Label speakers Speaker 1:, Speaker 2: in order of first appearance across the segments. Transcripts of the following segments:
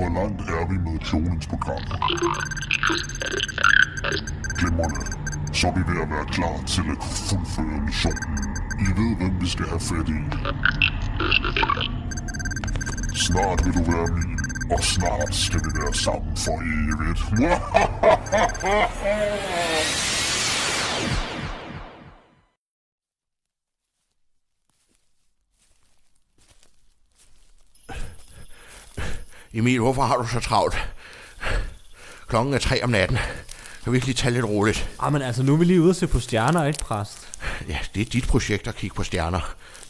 Speaker 1: er vi med kloningsprogrammet. Glimrende. Så er vi ved at være klar til at fuldføre missionen. I ved, hvem vi skal have fat i. Snart vil du være min, og snart skal vi være sammen for evigt.
Speaker 2: Emil, hvorfor har du så travlt? Klokken er tre om natten. Kan vi ikke lige tage lidt roligt?
Speaker 3: Ah, men altså, nu er vi lige ude og se på stjerner, ikke præst?
Speaker 2: Ja, det er dit projekt at kigge på stjerner.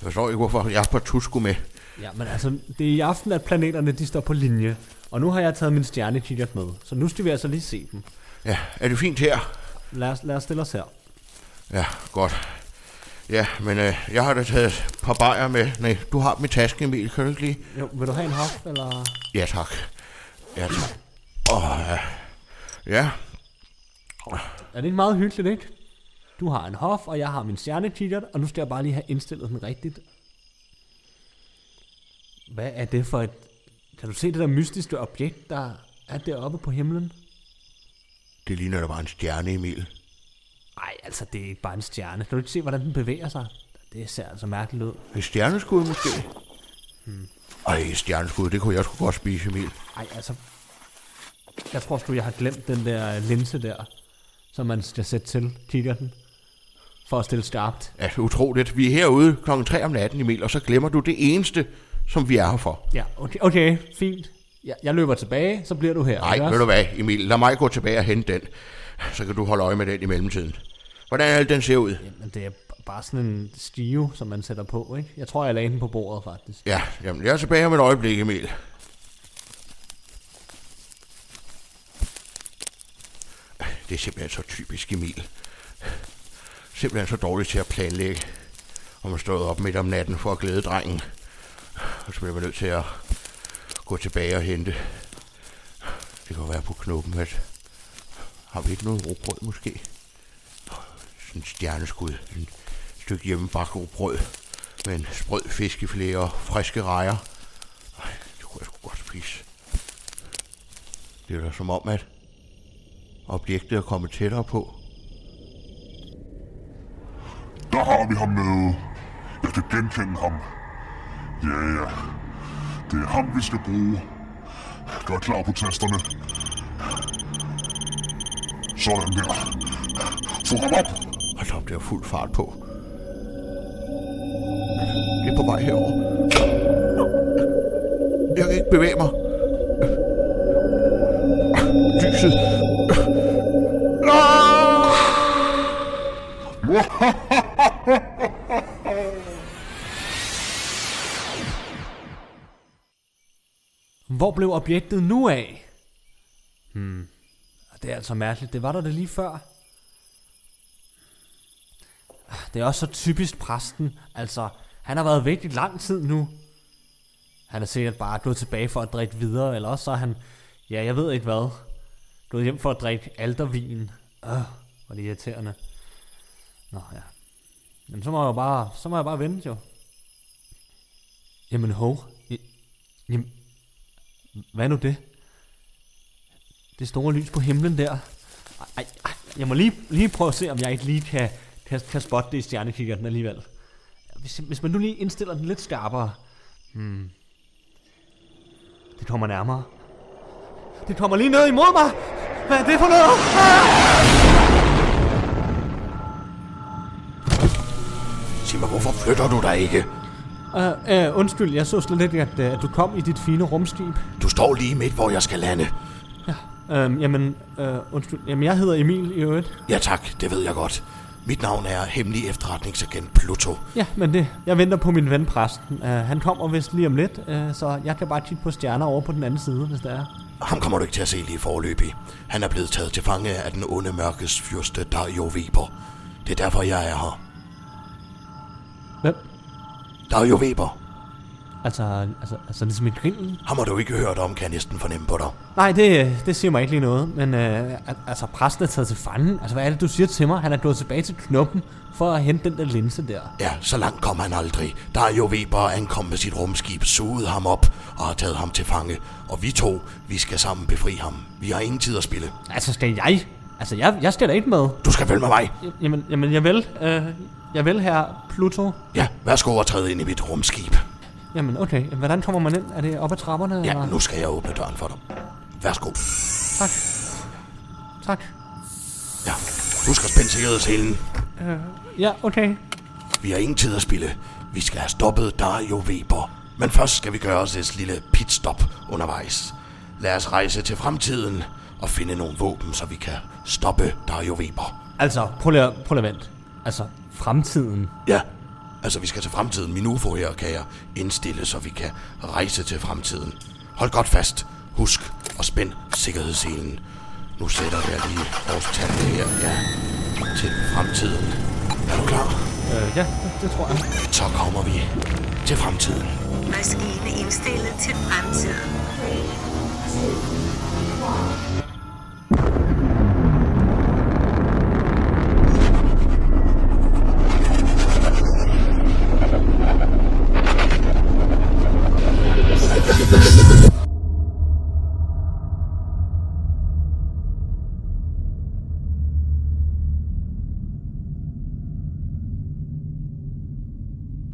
Speaker 2: Jeg forstår ikke, hvorfor jeg på tusku med.
Speaker 3: Ja, men altså, det er i aften, at planeterne de står på linje. Og nu har jeg taget min stjernekikkert med, så nu skal vi altså lige se dem.
Speaker 2: Ja, er det fint her?
Speaker 3: Lad os, lad os stille os her.
Speaker 2: Ja, godt. Ja, men øh, jeg har da taget et par bajer med. Nej, du har dem i tasken, Emil. Kan du ikke lige?
Speaker 3: Jo, vil du have en hop, eller?
Speaker 2: Ja, tak. Ja, tak. Åh, ja. ja.
Speaker 3: Er det ikke meget hyggeligt, ikke? Du har en hof, og jeg har min stjernekikkert, og nu skal jeg bare lige have indstillet den rigtigt. Hvad er det for et... Kan du se det der mystiske objekt, der er deroppe på himlen?
Speaker 2: Det ligner da bare en stjerne, Emil.
Speaker 3: Nej, altså, det er ikke bare en stjerne. Kan du ikke se, hvordan den bevæger sig? Det ser altså mærkeligt ud.
Speaker 2: Et stjerneskud måske? Ej, et stjerneskud, det kunne jeg sgu godt spise, Emil.
Speaker 3: Ej, altså... Jeg tror sgu, jeg har glemt den der linse der, som man skal sætte til kikkerten, for at stille skarpt.
Speaker 2: Altså, utroligt. Vi er herude klokken 3 om natten, Emil, og så glemmer du det eneste, som vi er her for.
Speaker 3: Ja, okay, okay fint. Jeg, jeg løber tilbage, så bliver du her.
Speaker 2: Nej,
Speaker 3: ikke
Speaker 2: ved
Speaker 3: også?
Speaker 2: du hvad, Emil, lad mig gå tilbage og hente den. Så kan du holde øje med den i mellemtiden. Hvordan er det, den ser ud?
Speaker 3: Jamen, det er b- bare sådan en stive, som man sætter på, ikke? Jeg tror, jeg lagde den på bordet, faktisk.
Speaker 2: Ja, jamen, jeg er tilbage om et øjeblik, Emil. Det er simpelthen så typisk, Emil. Simpelthen så dårligt til at planlægge. Og man stået op midt om natten for at glæde drengen. Og så bliver man nødt til at gå tilbage og hente. Det kan jo være på knuppen, at... Har vi ikke noget råbrød, måske? Sådan en stjerneskud. Et stykke hjemmebagt råbrød. Med en sprød fiskefilet og friske rejer. Ej, det kunne jeg sgu godt spise. Det er da som om, at objektet er kommet tættere på.
Speaker 1: Der har vi ham med. Jeg kan genkende ham. Ja, ja. Det er ham, vi skal bruge. Gør klar på tasterne. Sådan der. Få ham op!
Speaker 2: Hold da op, det er fuld fart på. Det er på vej herover. Jeg kan ikke bevæge mig. Lyset. Ah!
Speaker 3: Hvor blev objektet nu af? Hmm. Det er altså mærkeligt. Det var der det lige før. Ah, Det er også så typisk præsten. Altså, han har været væk i lang tid nu. Han er sikkert bare gået tilbage for at drikke videre, eller også så er han, ja, jeg ved ikke hvad, gået hjem for at drikke aldervin. Øh, hvor er det irriterende. Nå ja. Jamen, så må jeg jo bare, så må jeg bare vente jo. Jamen hov. I- Jamen, hvad er nu det? Det store lys på himlen der. Ej, ej, jeg må lige, lige prøve at se, om jeg ikke lige kan, kan, kan spotte det i stjernekikkerten alligevel. Hvis, hvis man nu lige indstiller den lidt skarpere. Hmm. Det kommer nærmere. Det kommer lige noget imod mig! Hvad er det for noget?
Speaker 2: Sig mig, hvorfor flytter du dig ikke?
Speaker 3: Ah! Uh, uh, undskyld, jeg så slet ikke, at, uh, at du kom i dit fine rumskib.
Speaker 2: Du står lige midt, hvor jeg skal lande.
Speaker 3: Uh, jamen, uh, undskyld. Jamen, jeg hedder Emil i øvrigt.
Speaker 2: Ja tak, det ved jeg godt. Mit navn er hemmelig efterretningsagent Pluto.
Speaker 3: Ja, men det, jeg venter på min ven præsten. Uh, han kommer vist lige om lidt, uh, så jeg kan bare kigge på stjerner over på den anden side, hvis det er.
Speaker 2: Ham kommer du ikke til at se lige forløbig. Han er blevet taget til fange af den onde mørkes fyrste Dario Weber. Det er derfor, jeg er her.
Speaker 3: Hvem?
Speaker 2: Dario Weber.
Speaker 3: Altså, altså, altså ligesom i grillen?
Speaker 2: Ham har du ikke hørt om, kan jeg næsten fornemme på dig.
Speaker 3: Nej, det, øh, det siger mig ikke lige noget, men uh, altså præsten er taget til fanden. Altså, hvad er det, du siger til mig? Han er gået tilbage til knoppen for at hente den der linse der.
Speaker 2: Ja, så langt kom han aldrig. Dario Weber ankom med sit rumskib, sugede ham op og har taget ham til fange. Og vi to, vi skal sammen befri ham. Vi har ingen tid at spille.
Speaker 3: Altså, skal jeg? Altså, jeg, jeg skal da ikke med.
Speaker 2: Du skal følge med mig.
Speaker 3: Jamen, jamen jeg vil. Øh, jeg vil her, Pluto.
Speaker 2: Ja, værsgo at træde ind i mit rumskib.
Speaker 3: Jamen, okay. Hvordan kommer man ind? Er det op ad trapperne?
Speaker 2: Ja,
Speaker 3: eller?
Speaker 2: nu skal jeg åbne døren for dig. Værsgo.
Speaker 3: Tak. Tak.
Speaker 2: Ja, du skal spænde sikkerhedshælen.
Speaker 3: Ja, okay.
Speaker 2: Vi har ingen tid at spille. Vi skal have stoppet Dario Weber. Men først skal vi gøre os et lille pitstop undervejs. Lad os rejse til fremtiden og finde nogle våben, så vi kan stoppe Dario Weber.
Speaker 3: Altså, prøv lige, at- prøv lige at vent. Altså, fremtiden.
Speaker 2: Ja, altså vi skal til fremtiden. Min UFO her kan jeg indstille, så vi kan rejse til fremtiden. Hold godt fast. Husk og spænd sikkerhedsselen. Nu sætter jeg lige årstallene her, ja, til fremtiden. Er du klar?
Speaker 3: Øh, ja, det, det tror jeg.
Speaker 2: Så kommer vi til fremtiden.
Speaker 4: Maskine indstillet til fremtiden.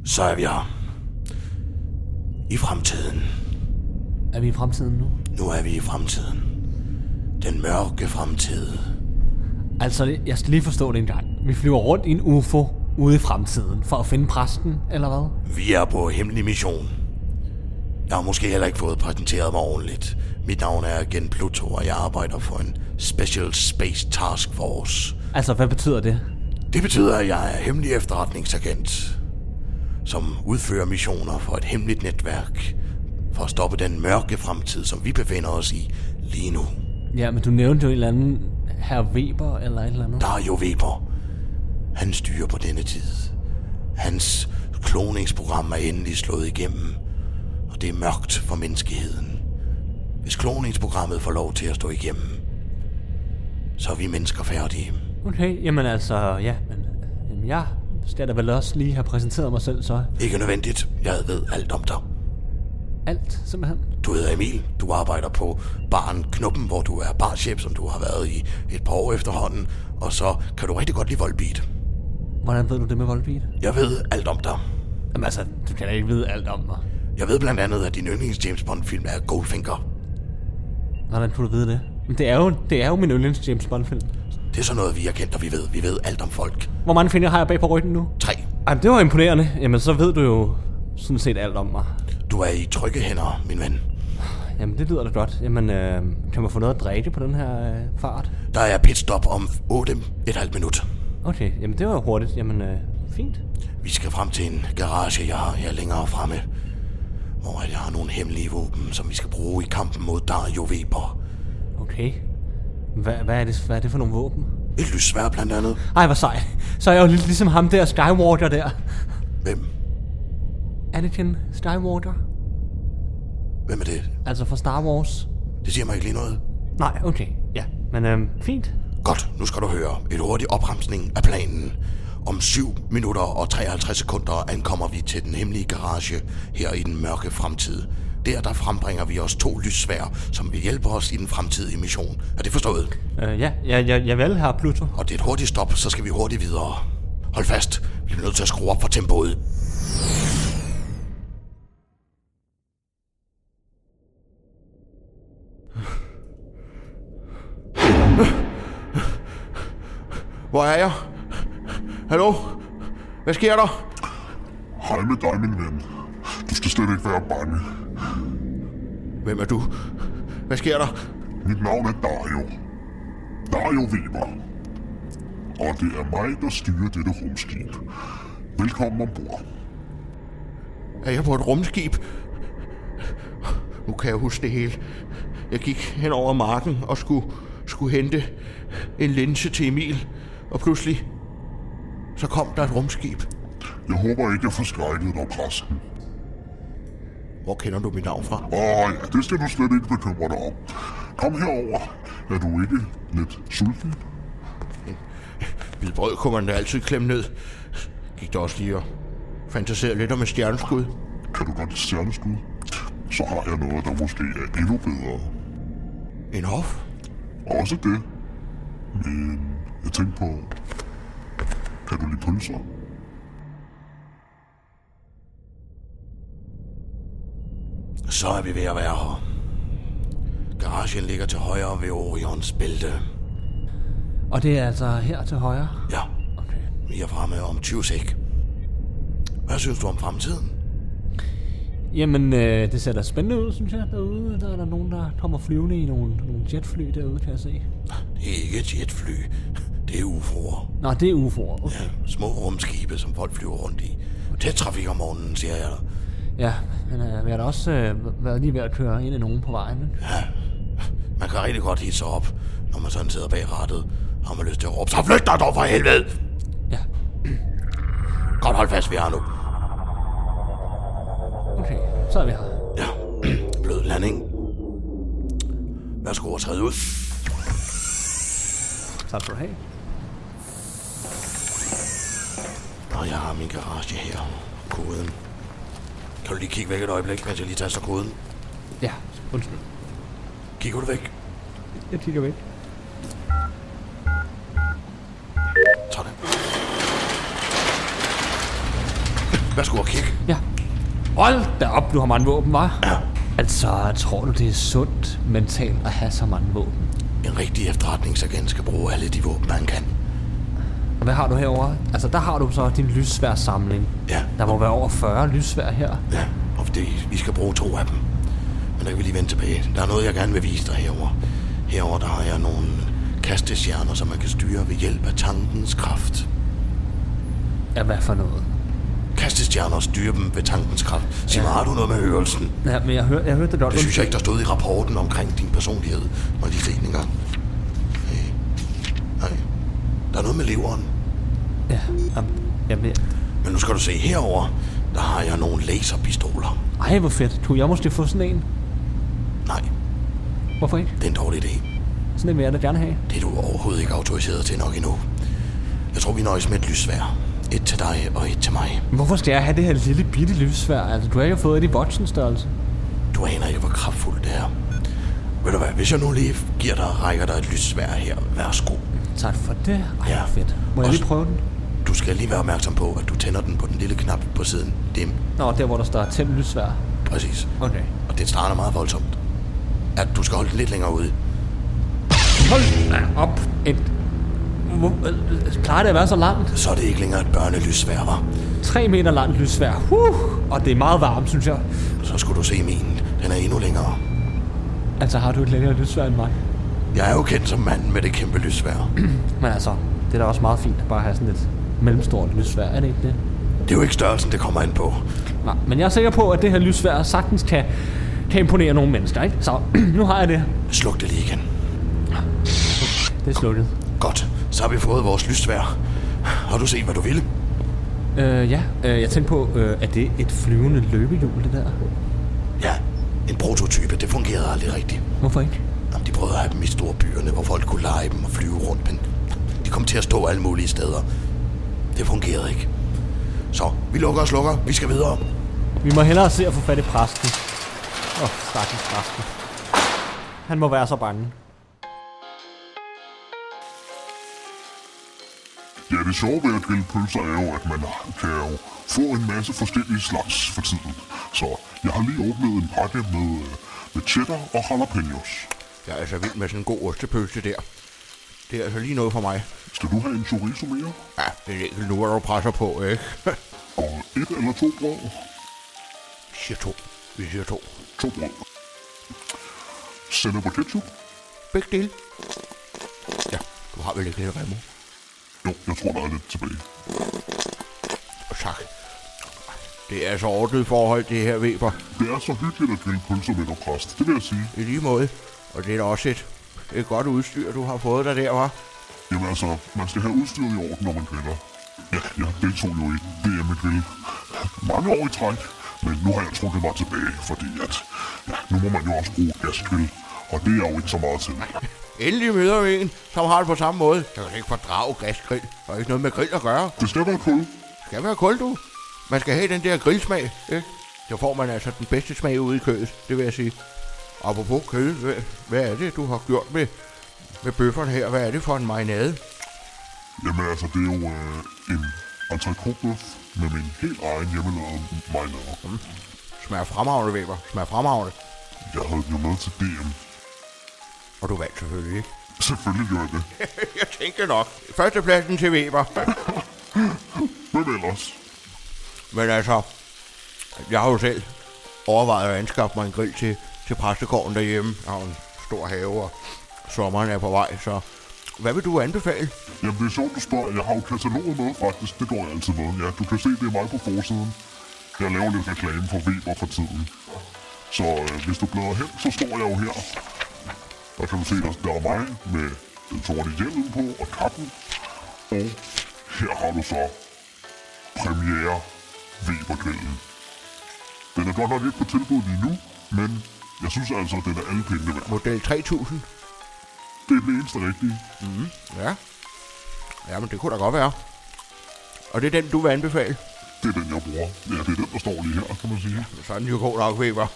Speaker 2: Så er vi her. I fremtiden.
Speaker 3: Er vi i fremtiden nu?
Speaker 2: Nu er vi i fremtiden. Den mørke fremtid.
Speaker 3: Altså, det- jeg skal lige forstå det en gang. Vi flyver rundt i en UFO ude i fremtiden for at finde præsten, eller hvad?
Speaker 2: Vi er på hemmelig mission. Jeg har måske heller ikke fået præsenteret mig ordentligt. Mit navn er igen Pluto, og jeg arbejder for en Special Space Task Force.
Speaker 3: Altså, hvad betyder det?
Speaker 2: Det betyder, at jeg er hemmelig efterretningsagent, som udfører missioner for et hemmeligt netværk for at stoppe den mørke fremtid, som vi befinder os i lige nu.
Speaker 3: Ja, men du nævnte jo en eller anden herr Weber eller et eller andet.
Speaker 2: Dario Weber. Han styrer på denne tid. Hans kloningsprogram er endelig slået igennem, og det er mørkt for menneskeheden. Hvis kloningsprogrammet får lov til at stå igennem, så er vi mennesker færdige.
Speaker 3: Okay, jamen altså, ja, men jamen, jeg skal da vel også lige have præsenteret mig selv så.
Speaker 2: Ikke nødvendigt. Jeg ved alt om dig.
Speaker 3: Alt, simpelthen.
Speaker 2: Du hedder Emil. Du arbejder på baren Knuppen, hvor du er barchef, som du har været i et par år efterhånden. Og så kan du rigtig godt lide voldbeat.
Speaker 3: Hvordan ved du det med voldbeat?
Speaker 2: Jeg ved alt om dig.
Speaker 3: Jamen altså, du kan da ikke vide alt om mig.
Speaker 2: Jeg ved blandt andet, at din yndlings James Bond-film er Goldfinger.
Speaker 3: Hvordan kunne du vide det? Men det er jo, det er jo min yndlings James Bond film.
Speaker 2: Det er sådan noget, vi har kendt, og vi ved. Vi ved alt om folk.
Speaker 3: Hvor mange fingre har jeg bag på ryggen nu?
Speaker 2: Tre.
Speaker 3: Ej, men det var imponerende. Jamen, så ved du jo sådan set alt om mig.
Speaker 2: Du er i trygge hænder, min ven.
Speaker 3: Jamen, det lyder da godt. Jamen, øh, kan man få noget at drikke på den her øh, fart?
Speaker 2: Der er pitstop om 8, et halvt minut.
Speaker 3: Okay, jamen det var jo hurtigt. Jamen, øh, fint.
Speaker 2: Vi skal frem til en garage, jeg har her længere fremme. Hvor jeg har nogle hemmelige våben, som vi skal bruge i kampen mod Dario Weber.
Speaker 3: Okay. Hva, hvad, er det, hvad er det for nogle våben?
Speaker 2: Et lysvær blandt andet.
Speaker 3: Ej, hvor sejt. Så er jeg jo lidt ligesom ham der Skywalker der.
Speaker 2: Hvem?
Speaker 3: Anakin Skywalker.
Speaker 2: Hvem er det?
Speaker 3: Altså fra Star Wars.
Speaker 2: Det siger mig ikke lige noget.
Speaker 3: Nej, okay. Ja, men øh, fint.
Speaker 2: Godt, nu skal du høre. Et hurtigt opremsning af planen. Om 7 minutter og 53 sekunder ankommer vi til den hemmelige garage her i den mørke fremtid. Der, der frembringer vi os to lyssvær, som vil hjælpe os i den fremtidige mission. Er det forstået?
Speaker 3: Øh, ja, ja, ja, ja vel, her Pluto.
Speaker 2: Og det er et hurtigt stop, så skal vi hurtigt videre. Hold fast, vi bliver nødt til at skrue op for tempoet. Hvor er jeg? Hallo? Hvad sker der?
Speaker 1: Hej med dig, min ven. Du skal slet ikke være bange.
Speaker 2: Hvem er du? Hvad sker der?
Speaker 1: Mit navn er Dario. Dario Weber. Og det er mig, der styrer dette rumskib. Velkommen ombord.
Speaker 2: Er jeg på et rumskib? Nu kan jeg huske det hele. Jeg gik hen over marken og skulle, skulle hente en linse til Emil. Og pludselig, så kom der et rumskib.
Speaker 1: Jeg håber ikke, jeg forskrækkede dig, præsten.
Speaker 2: Hvor kender du mit navn fra?
Speaker 1: Åh ja, det skal du slet ikke bekymre dig om. Kom herover. Er du ikke lidt sulten?
Speaker 2: Bid brød kunne man da altid klemme ned. Gik der også lige og fantaserede lidt om et stjerneskud.
Speaker 1: Kan du godt stjerneskud? så har jeg noget, der måske er endnu bedre.
Speaker 2: En hof?
Speaker 1: Også det. Men jeg tænkte på, kan du lide pølser?
Speaker 2: Så er vi ved at være her. Garagen ligger til højre ved Orions bælte.
Speaker 3: Og det er altså her til højre.
Speaker 2: Ja,
Speaker 3: Okay.
Speaker 2: vi er fremme om 20 sek. Hvad synes du om fremtiden?
Speaker 3: Jamen, øh, det ser da spændende ud, synes jeg, derude. Der er der nogen, der kommer flyvende i nogle, nogle jetfly derude, kan jeg se.
Speaker 2: Det er ikke et jetfly. Det er UFO'er.
Speaker 3: Nå, det er UFO'er. Okay.
Speaker 2: Ja, små rumskibe, som folk flyver rundt i. Tæt trafik om morgenen, siger jeg dig.
Speaker 3: Ja, men øh, vi har da også øh, været lige ved at køre ind i nogen på vejen. ikke?
Speaker 2: Man kan rigtig godt hisse sig op, når man sådan sidder bag rattet. Har man lyst til at råbe, så flyt dig dog for helvede!
Speaker 3: Ja,
Speaker 2: Godt hold fast, vi har nu.
Speaker 3: okay. Så er vi her.
Speaker 2: Ja, blød landing. Værsgo at træde ud.
Speaker 3: Tak skal du have.
Speaker 2: Nå, jeg har min garage her. Koden. Kan du lige kigge væk et øjeblik, mens jeg lige taster koden?
Speaker 3: Ja, undskyld.
Speaker 2: Kigger du væk?
Speaker 3: Jeg kigger væk.
Speaker 2: Sådan. Værsgo at kigge.
Speaker 3: Ja. Hold da op, du har mange våben, var. Ja. Altså, tror du, det er sundt mentalt at have så mange våben?
Speaker 2: En rigtig efterretningsagent skal bruge alle de våben, han kan.
Speaker 3: Og hvad har du herover? Altså, der har du så din lyssvær samling.
Speaker 2: Ja.
Speaker 3: Der må være over 40 lyssvær her.
Speaker 2: Ja, og det, vi skal bruge to af dem. Men der kan vi lige vende tilbage. Der er noget, jeg gerne vil vise dig herover. Herover der har jeg nogle kastestjerner, som man kan styre ved hjælp af tankens kraft.
Speaker 3: Ja, hvad for noget?
Speaker 2: Kastestjerner og styre dem ved tankens kraft. Sig mig, har du noget med hørelsen?
Speaker 3: Ja, men jeg, hør, jeg hørte det godt.
Speaker 2: Det synes jeg ikke, der stod i rapporten omkring din personlighed. Må jeg lige se den en gang. Øh, Nej. Der er noget med leveren.
Speaker 3: Ja, jamen, jamen, jeg-
Speaker 2: Men nu skal du se herover. Der har jeg nogle laserpistoler.
Speaker 3: Ej, hvor fedt. Kunne jeg måske få sådan en?
Speaker 2: Nej,
Speaker 3: Hvorfor ikke?
Speaker 2: det er en dårlig idé.
Speaker 3: Sådan en vil jeg da gerne have.
Speaker 2: Det er du overhovedet ikke autoriseret til nok endnu. Jeg tror, vi nøjes med et lysvær. Et til dig og et til mig.
Speaker 3: Hvorfor skal jeg have det her lille bitte lyssvær? Altså, du har ikke fået det i voksenstørrelse.
Speaker 2: Du aner ikke, hvor kraftfuldt det er. Ved du hvad, hvis jeg nu lige giver dig rækker dig et lysvær her, værsgo.
Speaker 3: Tak for det. Ej,
Speaker 2: Ja.
Speaker 3: ja. fedt. Må jeg
Speaker 2: Og
Speaker 3: lige
Speaker 2: s-
Speaker 3: prøve den?
Speaker 2: Du skal lige være opmærksom på, at du tænder den på den lille knap på siden. Det er
Speaker 3: Nå, der hvor der står tændt lyssvær.
Speaker 2: præcis.
Speaker 3: Okay.
Speaker 2: Og det starter meget voldsomt. At du skal holde den lidt længere ude.
Speaker 3: Hold da op. Et... Hvor... øh, Plejer det at være så langt?
Speaker 2: Så er det ikke længere et børnelysvær, var.
Speaker 3: 3 meter langt lyssvær. Huh! Og det er meget varmt, synes jeg.
Speaker 2: Så skulle du se min. Den er endnu længere.
Speaker 3: Altså, har du et længere lyssvær end mig?
Speaker 2: Jeg er jo kendt som manden med det kæmpe lysvær.
Speaker 3: Men altså, det er da også meget fint at bare have sådan et mellemstort lyssvær, er det ikke det?
Speaker 2: Det er jo ikke størrelsen, det kommer ind på.
Speaker 3: Nej, men jeg er sikker på, at det her lyssvær sagtens kan, kan imponere nogle mennesker, ikke? Så nu har jeg det.
Speaker 2: Sluk det lige igen.
Speaker 3: Det er slukket.
Speaker 2: Godt, så har vi fået vores lysvær. Har du set, hvad du ville?
Speaker 3: Øh, ja, øh, jeg tænkte på, øh, er det et flyvende løbehjul, det der?
Speaker 2: Ja, en prototype. Det fungerede aldrig rigtigt.
Speaker 3: Hvorfor ikke?
Speaker 2: Jamen, de prøvede at have dem i store byerne, hvor folk kunne lege dem og flyve rundt, men de kom til at stå alle mulige steder. Det fungerede ikke. Så, vi lukker og slukker. Vi skal videre.
Speaker 3: Vi må hellere se at få fat i præsten. Åh, oh, stakkels præsten. Han må være så bange.
Speaker 1: Ja, det sjove ved at grille pølser er jo, at man kan jo få en masse forskellige slags for tiden. Så jeg har lige åbnet en pakke med, øh, med cheddar og jalapenos.
Speaker 2: Jeg er altså vild med sådan en god ostepølse der. Det er altså lige noget for mig.
Speaker 1: Skal du have en chorizo mere?
Speaker 2: Ja, det er ikke nu, du presser på, ikke?
Speaker 1: Og et eller to brød?
Speaker 2: siger to. Vi siger to.
Speaker 1: To brød. Sennep og ketchup?
Speaker 2: Begge dele. Ja, du har vel ikke lidt remo.
Speaker 1: Jo, jeg tror, der er lidt tilbage.
Speaker 2: Tak. Det er altså ordnet forhold, det her, Weber.
Speaker 1: Det er så hyggeligt at grille pølser med dig, præst. Det vil jeg sige.
Speaker 2: I lige måde. Og det er da også et, et godt udstyr, du har fået dig der, var.
Speaker 1: Jamen altså, man skal have udstyret i orden, når man griller. Ja, jeg deltog jo i VM med grill mange år i træk, men nu har jeg trukket mig tilbage, fordi at, ja, nu må man jo også bruge gasgrill, og det er jeg jo ikke så meget til.
Speaker 2: Endelig møder vi en, som har det på samme måde. Jeg kan ikke fordrage gasgrill. Der er ikke noget med grill at gøre.
Speaker 1: Det skal være kul.
Speaker 2: Det skal være kul, du. Man skal have den der grillsmag, ikke? Der får man altså den bedste smag ude i kødet, det vil jeg sige. Apropos kød, hvad, hvad er det, du har gjort med, med bøfferne her? Hvad er det for en marinade?
Speaker 1: Jamen altså, det er jo øh, en entrecôtebøf med min helt egen hjemmelavede marinade.
Speaker 2: Smager fremragende, Weber. Smager fremragende.
Speaker 1: Jeg havde den jo med til DM.
Speaker 2: Og du vandt selvfølgelig, ikke?
Speaker 1: Selvfølgelig gjorde jeg det.
Speaker 2: jeg tænkte nok. Førstepladsen til Weber.
Speaker 1: Hvem ellers?
Speaker 2: Men altså, jeg har jo selv overvejet at anskaffe mig en grill til, til præstegården derhjemme. Jeg har jo en stor have, og sommeren er på vej, så hvad vil du anbefale?
Speaker 1: Jamen, det er sjovt, du spørger. Jeg har jo kataloget med, faktisk. Det går jeg altid med. Ja, du kan se, det er mig på forsiden. Jeg laver lidt reklame for Weber for tiden. Så øh, hvis du bladrer hen, så står jeg jo her. Der kan du se, der, der er mig med den sorte hjelm på og kappen. Og her har du så premiere Webergrillen. Den er godt nok ikke på tilbud lige nu, men jeg synes altså, at den er alle pengene værd.
Speaker 2: Model 3000?
Speaker 1: Det er den eneste rigtige.
Speaker 2: Ja. Jamen, det kunne da godt være. Og det er den, du vil anbefale?
Speaker 1: Det er den, jeg bruger. Ja, det er den, der står lige her, kan man sige.
Speaker 2: Sådan er jo god nok, Weber.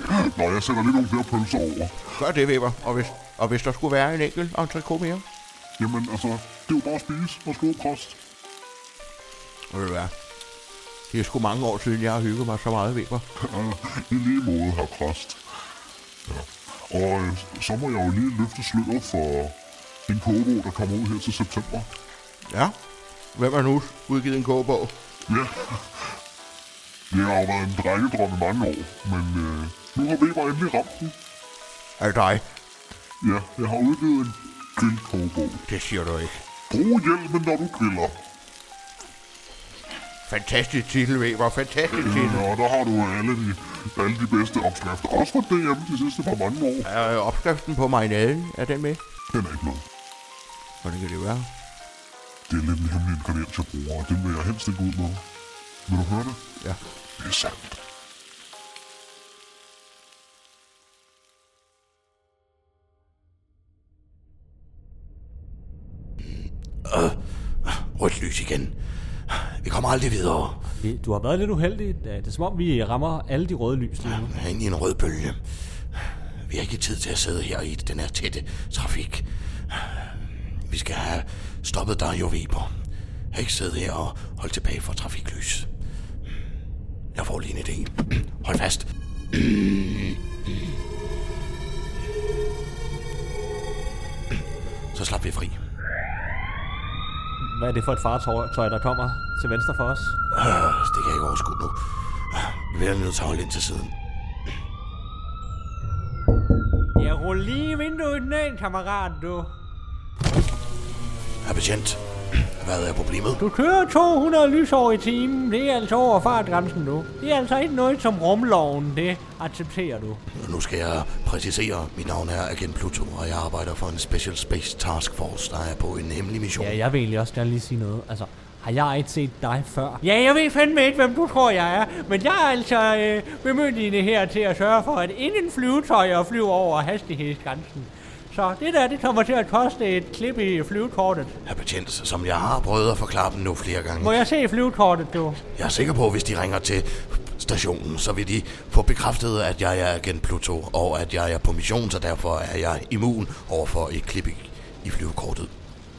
Speaker 1: Nå, jeg sætter lige nogle flere pølser over.
Speaker 2: Gør det, Weber. Og hvis, og hvis der skulle være en enkelt entrecôte mere,
Speaker 1: Jamen, altså, det er jo bare at spise og skrive kost.
Speaker 2: ved du hvad? Det er sgu mange år siden, jeg har hygget mig så meget, Weber.
Speaker 1: Ah, I lige måde, herr præst. Ja. Og øh, så må jeg jo lige løfte sløret for en kobo, der kommer ud her til september.
Speaker 2: Ja. Hvem har nu udgivet en kogebog?
Speaker 1: Ja, det har jo været en drengedrøm i mange år, men øh, nu har Weber endelig ramt den.
Speaker 2: Er det dig?
Speaker 1: Ja, jeg har udgivet en grillkobo.
Speaker 2: Det siger du ikke.
Speaker 1: Brug hjelmen, når du griller.
Speaker 2: Fantastisk titel, Weber. Fantastisk titel.
Speaker 1: Øh, og der har du alle de, alle de bedste opskrifter, også fra DM de sidste par mange år.
Speaker 2: Er øh, opskriften på marinaden, er den med?
Speaker 1: Den er ikke med.
Speaker 2: Hvordan kan det være?
Speaker 1: Det er lidt en hemmelig ingrediens, jeg bruger, og den vil jeg helst ikke ud med. Vil du høre det?
Speaker 2: Ja.
Speaker 1: Det er sandt.
Speaker 2: Rødt lys igen. Vi kommer aldrig videre.
Speaker 3: Vi- Du har været lidt uheldig. Det er som om, vi rammer alle de røde lys lige nu.
Speaker 2: Jeg er inde i en rød bølge. Vi har ikke tid til at sidde her i den her tætte trafik. Vi skal have stoppet dig, jo Weber. Jeg kan ikke sidde her og holde tilbage for trafiklys. Jeg får lige en idé. Hold fast. Så slap vi fri.
Speaker 3: Hvad er det for et fartøj, der kommer til venstre for os?
Speaker 2: Øh, Det kan jeg ikke overskue nu. Vi er nødt til at holde ind til siden.
Speaker 3: Jeg ruller lige vinduet ned, kammerat, du.
Speaker 2: Herre betjent, hvad er problemet?
Speaker 3: Du kører 200 lysår i timen. Det er altså over fartgrænsen nu. Det er altså ikke noget, som rumloven, det accepterer du.
Speaker 2: Nu skal jeg præcisere. Mit navn er Agent Pluto, og jeg arbejder for en Special Space Task Force, der er på en hemmelig mission.
Speaker 3: Ja, jeg vil egentlig også gerne lige sige noget. Altså, har jeg ikke set dig før? Ja, jeg ved fandme ikke, hvem du tror, jeg er. Men jeg er altså øh, bemyndigende her til at sørge for, at inden flyvetøjer flyver over hastighedsgrænsen. Så det der, det kommer til at koste et klip i flyvekortet.
Speaker 2: Herre betjent, som jeg har prøvet at forklare dem nu flere gange.
Speaker 3: Må jeg se flyvekortet, du?
Speaker 2: Jeg er sikker på, at hvis de ringer til stationen, så vil de få bekræftet, at jeg er Agent Pluto, og at jeg er på mission, så derfor er jeg immun overfor et klip i, i flyvekortet.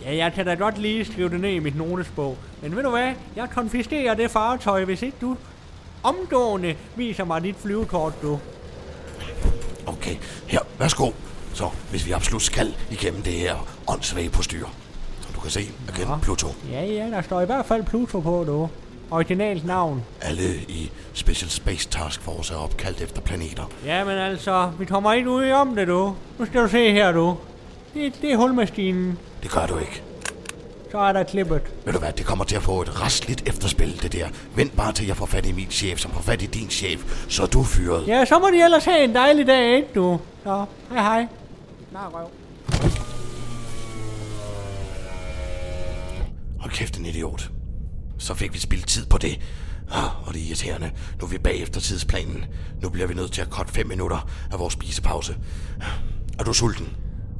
Speaker 3: Ja, jeg kan da godt lige skrive det ned i mit notesbog. Men ved du hvad? Jeg konfiskerer det fartøj, hvis ikke du omgående viser mig dit flyvekort, du.
Speaker 2: Okay, her, værsgo. Så, hvis vi absolut skal igennem det her åndssvage postyr. Som du kan se, Agent Pluto.
Speaker 3: Ja, ja, der står i hvert fald Pluto på, du. Originalt navn.
Speaker 2: Alle i Special Space Task Force er opkaldt efter planeter.
Speaker 3: Jamen altså, vi kommer ikke ud om det, du. Nu skal du se her, du. Det, det er hulmaskinen.
Speaker 2: Det gør du ikke.
Speaker 3: Så er der klippet.
Speaker 2: Ved du hvad, det kommer til at få et restligt efterspil, det der. Vent bare til jeg får fat i min chef, som får fat i din chef, så er du fyret.
Speaker 3: Ja, så må de ellers have en dejlig dag, ikke du? Så, hej hej. Nej, røv.
Speaker 2: Hold kæft, en idiot. Så fik vi spildt tid på det. Ah, og det er irriterende. Nu er vi bag efter tidsplanen. Nu bliver vi nødt til at korte fem minutter af vores spisepause. Ah, Er du sulten?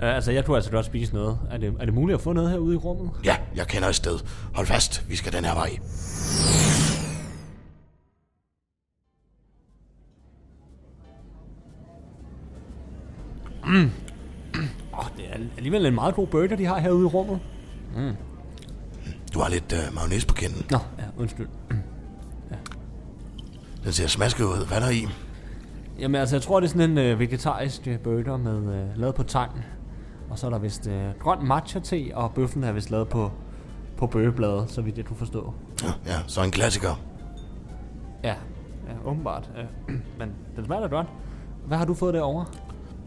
Speaker 3: Ja, altså, jeg kunne altså godt spise noget. Er det, er det muligt at få noget herude i rummet?
Speaker 2: Ja, jeg kender et sted. Hold fast, vi skal den her vej.
Speaker 3: Åh, oh, det er alligevel en meget god burger, de har herude i rummet.
Speaker 2: Du har lidt øh, mayonnaise på kinden.
Speaker 3: Nå, ja, undskyld.
Speaker 2: Den ser smasket ud. Hvad er der i?
Speaker 3: Jamen altså, jeg tror, det er sådan en øh, vegetarisk øh, burger med øh, lavet på tang. Og så er der vist øh, grøn matcha te, og bøffen er vist lavet på, på bøgebladet, så vidt jeg kunne forstå.
Speaker 2: Ah, Ja, så en klassiker.
Speaker 3: Ja, ja åbenbart. Øh, men den smager da godt. Hvad har du fået derovre?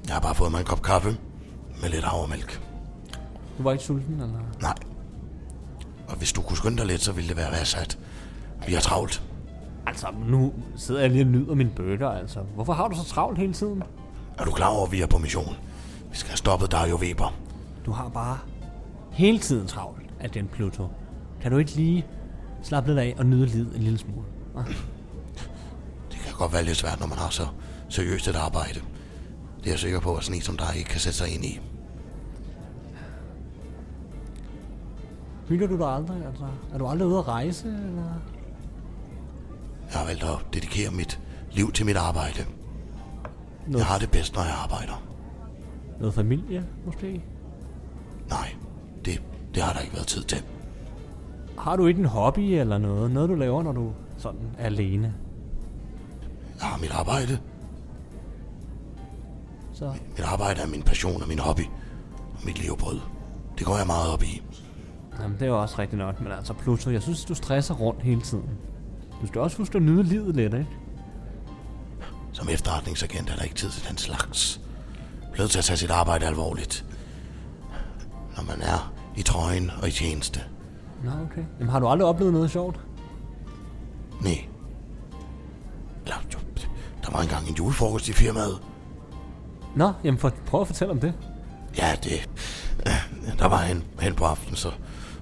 Speaker 2: Jeg har bare fået mig en kop kaffe med lidt havremælk.
Speaker 3: Du var ikke sulten, eller?
Speaker 2: Nej. Og hvis du kunne skynde dig lidt, så ville det være værdsat. Vi har travlt.
Speaker 3: Altså, nu sidder jeg lige og nyder min burger, altså. Hvorfor har du så travlt hele tiden?
Speaker 2: Er du klar over, at vi er på mission? Vi skal have stoppet Dario Weber.
Speaker 3: Du har bare hele tiden travlt af den Pluto. Kan du ikke lige slappe lidt af og nyde livet en lille smule? Ah,
Speaker 2: Det kan godt være lidt svært, når man har så seriøst et arbejde. Det er jeg sikker på, at sådan en som dig ikke kan sætte sig ind i.
Speaker 3: Hygger du dig aldrig, altså? Er du aldrig ude at rejse, eller?
Speaker 2: Jeg har valgt at dedikere mit liv til mit arbejde. Jeg har det bedst, når jeg arbejder.
Speaker 3: Noget familie, måske?
Speaker 2: Nej, det, det har der ikke været tid til.
Speaker 3: Har du ikke en hobby eller noget? Noget, du laver, når du sådan er alene?
Speaker 2: Jeg har mit arbejde.
Speaker 3: Så
Speaker 2: Mit arbejde er min passion og min hobby. Og mit levebrød. Det går jeg meget op i.
Speaker 3: jamen, det er jo også rigtigt nok. Men altså, Pluto, jeg synes, du stresser rundt hele tiden. Du skal også huske at nyde livet lidt, ikke?
Speaker 2: Som efterretningsagent er der ikke tid til den slags. Blevet til at tage sit arbejde alvorligt. Når man er i trøjen og i tjeneste.
Speaker 3: Nå, okay. Jamen, har du aldrig oplevet noget sjovt?
Speaker 2: Nej. Eller, jo, der var engang en julefrokost i firmaet.
Speaker 3: Nå, jamen, for, prøv at fortælle om det.
Speaker 2: Ja, det... øh, Der var en hen på aftenen, så,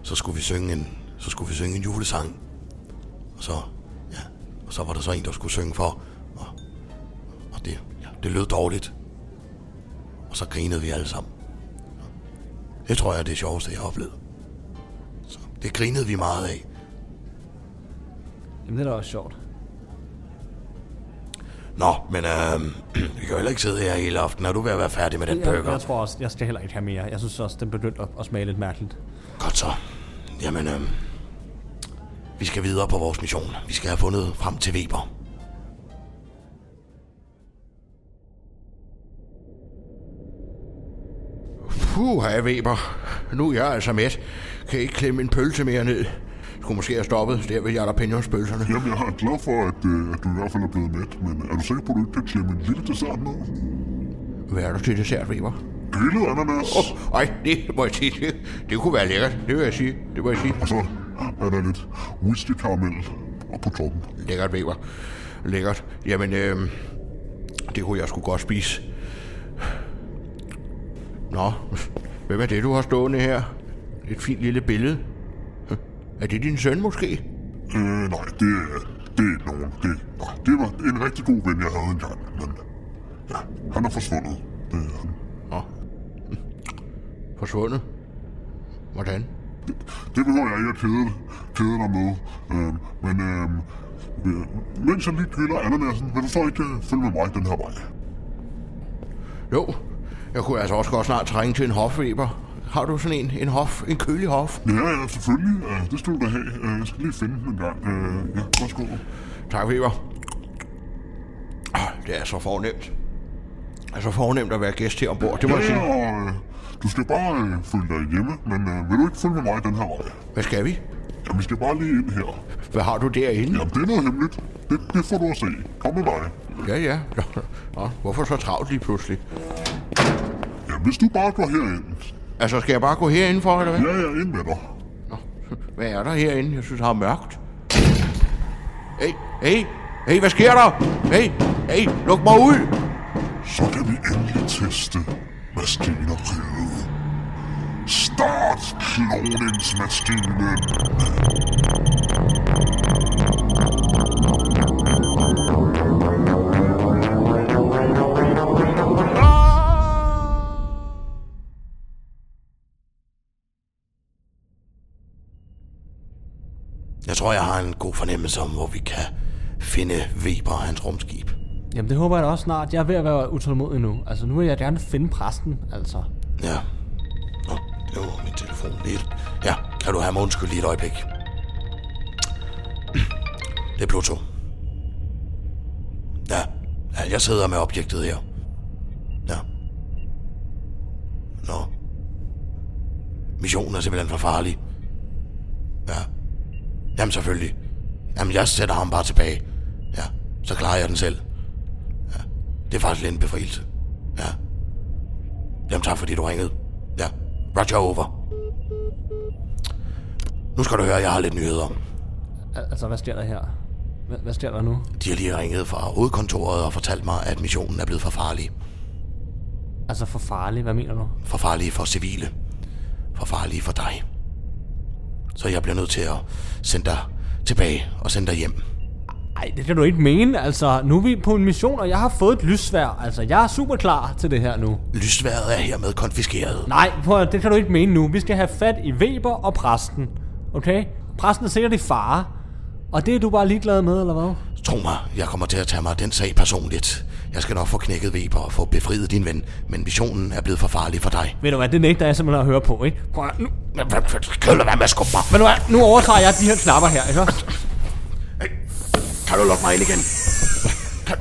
Speaker 2: så skulle vi synge en, så skulle vi synge en julesang. Og så, ja, og så var der så en, der skulle synge for, og, og det, ja, det lød dårligt. Og så grinede vi alle sammen. Det tror jeg er det sjoveste, jeg har oplevet. Så det grinede vi meget af.
Speaker 3: Jamen, det er da også sjovt.
Speaker 2: Nå, men øh, vi kan jo heller ikke sidde her hele aftenen. Er du ved at være færdig med den
Speaker 3: Jeg,
Speaker 2: burger?
Speaker 3: jeg tror også, jeg skal heller ikke have mere. Jeg synes også, den begyndte at, at smage lidt mærkeligt.
Speaker 2: Godt så. Jamen, øh, vi skal videre på vores mission. Vi skal have fundet frem til Weber. Puh, herre Weber. Nu er jeg altså med. Kan ikke klemme en pølse mere ned. Skulle måske have stoppet der ved jalapenospølserne.
Speaker 1: Jamen, jeg er glad for, at, øh, at du i hvert fald er blevet mæt, men er du sikker på, at du ikke kan klemme en lille dessert ned?
Speaker 2: Hvad er der til dessert, Weber?
Speaker 1: Grillet ananas,
Speaker 2: Åh, ej, det må jeg sige. Det, det kunne være lækkert. Det vil jeg sige. Det må jeg sige.
Speaker 1: og så er der lidt whisky karamel på toppen.
Speaker 2: Lækkert, Weber. Lækkert. Jamen, øh, det kunne jeg sgu godt spise. Nå, hvem er det, du har stående her? Et fint lille billede. Hm. Er det din søn måske?
Speaker 1: Øh, nej, det, er- det er ikke nogen. Det, nej, det var en rigtig god ven, jeg havde engang, men ja, han er forsvundet. Det er han.
Speaker 2: Nå. Forsvundet? Hvordan?
Speaker 1: Det behøver jeg ikke at kede, kede dig med. Øhm, men øhm, øh, mens jeg lige griller ananasen, vil du så ikke øh, følge med mig den her vej?
Speaker 2: Jo, jeg kunne altså også godt snart trænge til en hofweber. Har du sådan en, en hof, en kølig hof?
Speaker 1: Ja, ja, selvfølgelig. Øh, det skal du da have. Øh, jeg skal lige finde den en gang. Øh, ja, værsgo.
Speaker 2: Tak, Weber. Ah, Det er så fornemt. Det er så fornemt at være gæst her ombord, det må jeg
Speaker 1: Ja,
Speaker 2: sige.
Speaker 1: og øh, du skal bare øh, følge dig hjemme, men øh, vil du ikke følge med mig den her vej?
Speaker 2: Hvad skal vi?
Speaker 1: Ja, vi skal bare lige ind her.
Speaker 2: Hvad har du derinde?
Speaker 1: Jamen, det er noget hemmeligt. Det, det får du at se. Kom med mig.
Speaker 2: Ja, ja. Nå, hvorfor så travlt lige pludselig?
Speaker 1: Ja, hvis du bare går herind.
Speaker 2: Altså, skal jeg bare gå herindenfor, eller hvad?
Speaker 1: Ja, ja, ind med dig.
Speaker 2: Nå, hvad er der herinde? Jeg synes, det er mørkt. Hey, hey, hey, hvad sker der? Hey, hey, luk mig ud!
Speaker 1: Så kan vi endelig teste maskineriet. Start kloningsmaskinen.
Speaker 2: Jeg tror, jeg har en god fornemmelse om, hvor vi kan finde Weber og hans rumskib.
Speaker 3: Jamen det håber jeg da også snart. Jeg er ved at være utålmodig nu. Altså nu vil jeg gerne finde præsten, altså.
Speaker 2: Ja. Nå, det var min telefon lidt. Ja, kan du have mig undskyld lige et øjeblik? Det er Pluto. Ja, ja jeg sidder med objektet her. Ja. Nå. Missionen er simpelthen for farlig. Ja. Jamen selvfølgelig. Jamen jeg sætter ham bare tilbage. Ja, så klarer jeg den selv. Ja, det er faktisk lidt en befrielse. Ja. Jamen tak fordi du ringede. Ja, Roger over. Nu skal du høre, jeg har lidt nyheder.
Speaker 3: Al- altså hvad sker der her? Hvad, hvad sker der nu?
Speaker 2: De har lige ringet fra hovedkontoret og fortalt mig, at missionen er blevet for farlig.
Speaker 3: Altså for farlig, hvad mener du?
Speaker 2: For farlig for civile. For farlig for dig. Så jeg bliver nødt til at sende dig tilbage og sende dig hjem.
Speaker 3: Ej, det kan du ikke mene. Altså, nu er vi på en mission, og jeg har fået et lyssvær. Altså, jeg er super klar til det her nu.
Speaker 2: Lysværet er hermed konfiskeret.
Speaker 3: Nej, prøv at, det kan du ikke mene nu. Vi skal have fat i Weber og præsten. Okay? Præsten er sikkert i fare. Og det er du bare ligeglad med, eller hvad?
Speaker 2: Tro mig, jeg kommer til at tage mig af den sag personligt. Jeg skal nok få knækket Weber og få befriet din ven, men missionen er blevet for farlig for dig.
Speaker 3: Ved du hvad, det nægter jeg simpelthen at høre på, ikke? Prøv at, nu,
Speaker 2: Kan du være med at skubbe mig?
Speaker 3: ved du hvad, nu overtager jeg de her knapper her, ikke?
Speaker 2: Kan du lukke mig ind igen? Kan...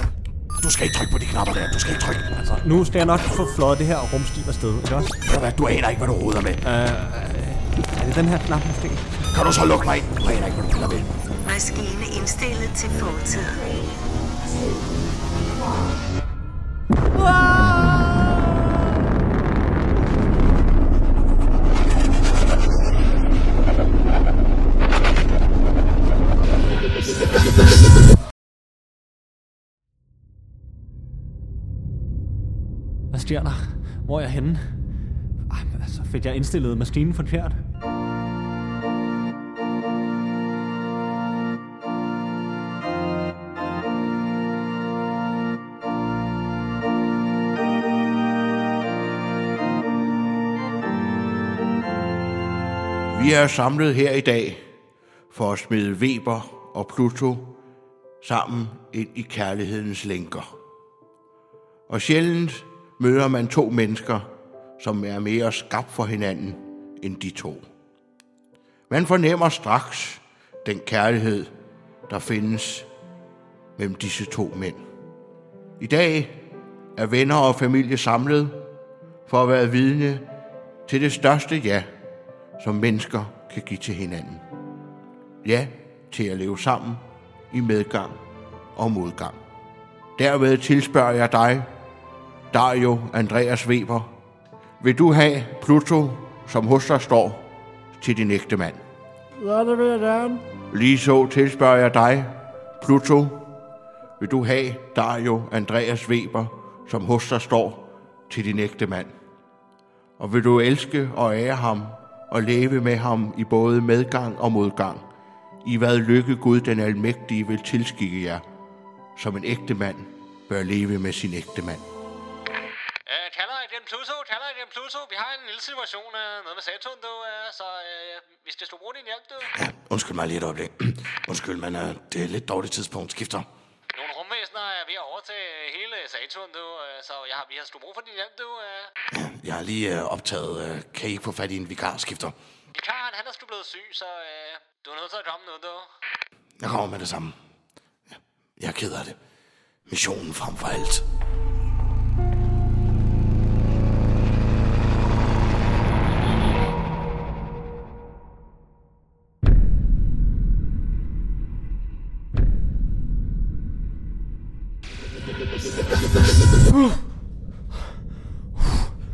Speaker 2: Du skal ikke trykke på de knapper der. Du skal ikke trykke. Altså,
Speaker 3: Nu skal jeg nok få flået det her rumskib afsted, ikke også?
Speaker 2: ved du hvad? Du aner ikke, hvad du roder med. Uh.
Speaker 3: Er det den her knap måske?
Speaker 2: Kan du så lukke mig ind? Du aner ikke, hvad du piller ved.
Speaker 4: Maskine indstillet til fortid.
Speaker 3: Hvad sker der? Hvor er jeg henne? Ej, men altså, fik jeg indstillet maskinen forkert?
Speaker 2: Vi er samlet her i dag for at smide Weber og Pluto sammen ind i kærlighedens lænker. Og sjældent møder man to mennesker, som er mere skabt for hinanden end de to. Man fornemmer straks den kærlighed, der findes mellem disse to mænd. I dag er venner og familie samlet for at være vidne til det største ja, som mennesker kan give til hinanden. Ja, til at leve sammen i medgang og modgang. Derved tilspørger jeg dig, Dario Andreas Weber. Vil du have Pluto, som hos dig står, til din ægte mand?
Speaker 3: Ja, det vil jeg gerne.
Speaker 2: Ligeså tilspørger jeg dig, Pluto. Vil du have Dario Andreas Weber, som hos dig står, til din ægte mand? Og vil du elske og ære ham og leve med ham i både medgang og modgang, i hvad lykke Gud den Almægtige vil tilskikke jer, som en ægte mand bør leve med sin ægte mand.
Speaker 5: Øh, kalder igen Pluto, kalder igen Pluto. Vi har en lille situation, øh, noget med Saturn, du, øh, så øh, vi skal sgu bruge din hjælp, du.
Speaker 2: Ja, undskyld mig lige et øjeblik. undskyld, men uh, det er et lidt dårligt tidspunkt. Skifter.
Speaker 5: Nogle rumvæsener øh, er ved at overtage hele Saturn, du, øh, så jeg har, vi har sgu brug for din hjælp, du. Øh.
Speaker 2: Jeg har lige uh, optaget, uh, kan I ikke få fat i en vikar? Skifter.
Speaker 5: Vikaren, han er sgu blevet syg, så øh, du er nødt til at komme nu, du.
Speaker 2: Jeg kommer med det samme. Ja, Jeg er ked af det. Missionen frem for alt.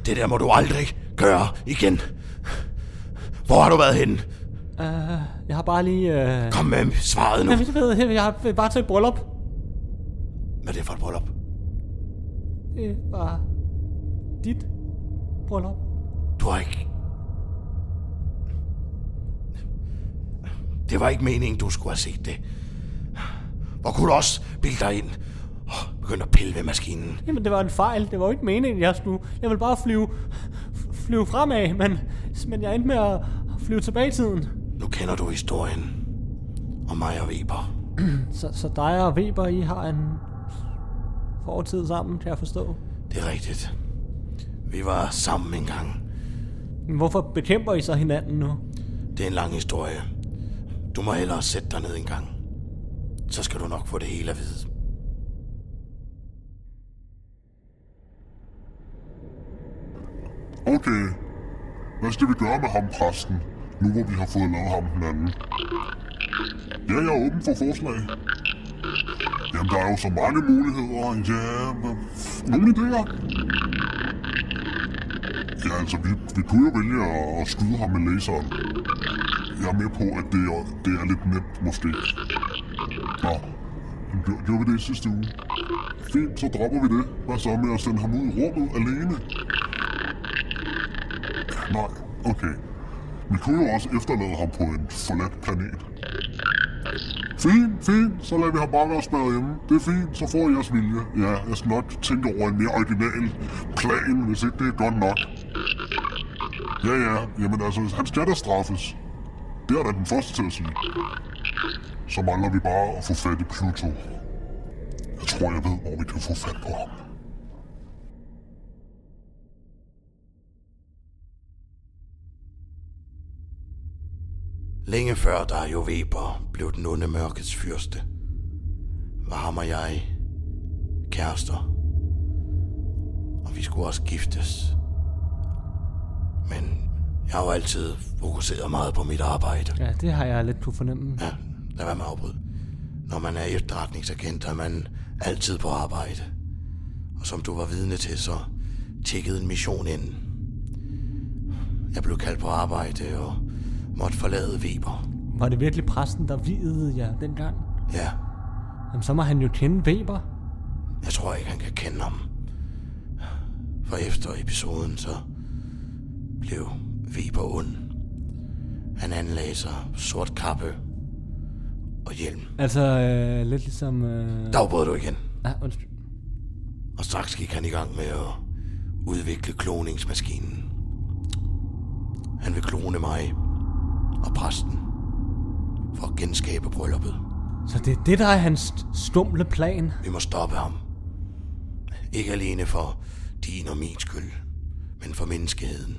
Speaker 2: Det der må du aldrig gøre igen. Hvor har du været henne?
Speaker 3: Jeg har bare lige... Øh...
Speaker 2: Kom med svaret nu.
Speaker 3: Jeg ved, jeg har bare til et bryllup.
Speaker 2: Hvad er det for et bryllup?
Speaker 3: Det var dit bryllup.
Speaker 2: Du har ikke... Det var ikke meningen, du skulle have set det. Hvor kunne du også bilde dig ind og begynde at pille ved maskinen?
Speaker 3: Jamen, det var en fejl. Det var jo ikke meningen, jeg skulle. Jeg ville bare flyve, f- flyve fremad, men, men jeg endte med at flyve tilbage i tiden.
Speaker 2: Nu kender du historien om mig og Weber.
Speaker 3: Så, så dig og Weber, I har en hård tid sammen, kan jeg forstå.
Speaker 2: Det er rigtigt. Vi var sammen engang.
Speaker 3: Men Hvorfor bekæmper I så hinanden nu?
Speaker 2: Det er en lang historie. Du må hellere sætte dig ned en gang. Så skal du nok få det hele at vide.
Speaker 1: Okay. Hvad skal vi gøre med ham, præsten? Nu hvor vi har fået lavet ham den anden. Ja, jeg er åben for forslag. Jamen, der er jo så mange muligheder. Ja, men nogle idéer. Ja, altså, vi, vi kunne jo vælge at, at skyde ham med laseren. Jeg er med på, at det er, det er lidt nemt, måske. Nå, men gjorde, gjorde vi det i sidste uge? Fint, så dropper vi det. Hvad så med at sende ham ud i rummet alene? Nej, okay. Vi kunne jo også efterlade ham på en forladt planet. Fint, fint, så lader vi ham bare være spadet hjemme. Det er fint, så får I jeres vilje. Ja, jeg skal nok tænke over en mere original plan, hvis ikke det er godt nok. Ja, ja, jamen altså, han skal da straffes. Det er da den første til at sige. Så mangler vi bare at få fat i Pluto. Jeg tror, jeg ved, hvor vi kan få fat på ham.
Speaker 2: Længe før Dario Weber blev den onde mørkets fyrste, var ham og jeg kærester. Og vi skulle også giftes. Men jeg har jo altid fokuseret meget på mit arbejde.
Speaker 3: Ja, det har jeg lidt kunne fornemme.
Speaker 2: Ja, lad være med at afbryde. Når man er efterretningsagent, er man altid på arbejde. Og som du var vidne til, så tjekkede en mission ind. Jeg blev kaldt på arbejde og måtte forlade Weber.
Speaker 3: Var det virkelig præsten, der videde jer dengang?
Speaker 2: Ja,
Speaker 3: Jamen, så må han jo kende Weber.
Speaker 2: jeg tror ikke, han kan kende ham. For efter episoden, så blev Weber ond. Han anlagde sig sort kappe og hjelm.
Speaker 3: Altså, øh, lidt ligesom... Øh...
Speaker 2: Dagbrød du igen.
Speaker 3: Ah, undskyld.
Speaker 2: Og straks gik han i gang med at udvikle kloningsmaskinen. Han vil klone mig og præsten for at genskabe brylluppet.
Speaker 3: Så det er det, der er hans stumle plan.
Speaker 2: Vi må stoppe ham. Ikke alene for din og min skyld, men for menneskeheden.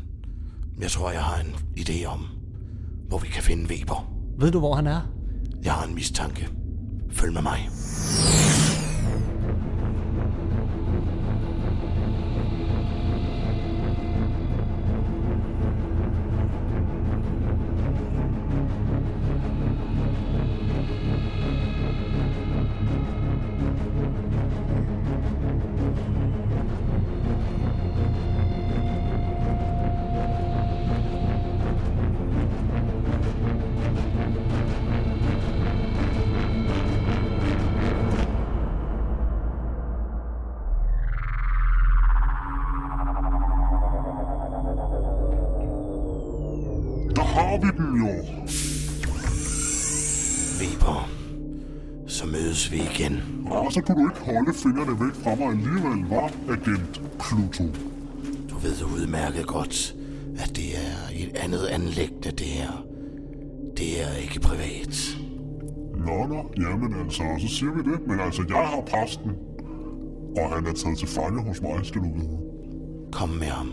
Speaker 2: Jeg tror, jeg har en idé om, hvor vi kan finde Weber.
Speaker 3: Ved du, hvor han er?
Speaker 2: Jeg har en mistanke. Følg med mig.
Speaker 1: Der har vi den jo.
Speaker 2: Weber. Så mødes vi igen.
Speaker 1: Og så kunne du ikke holde fingrene væk fra mig alligevel, var agent Pluto.
Speaker 2: Du ved udmærket godt, at det er et andet anlæggende, det her. Det er ikke privat.
Speaker 1: Nå, nå, jamen altså, så siger vi det. Men altså, jeg har præsten. Og han er taget til fange hos mig, skal du vide.
Speaker 2: Kom med ham.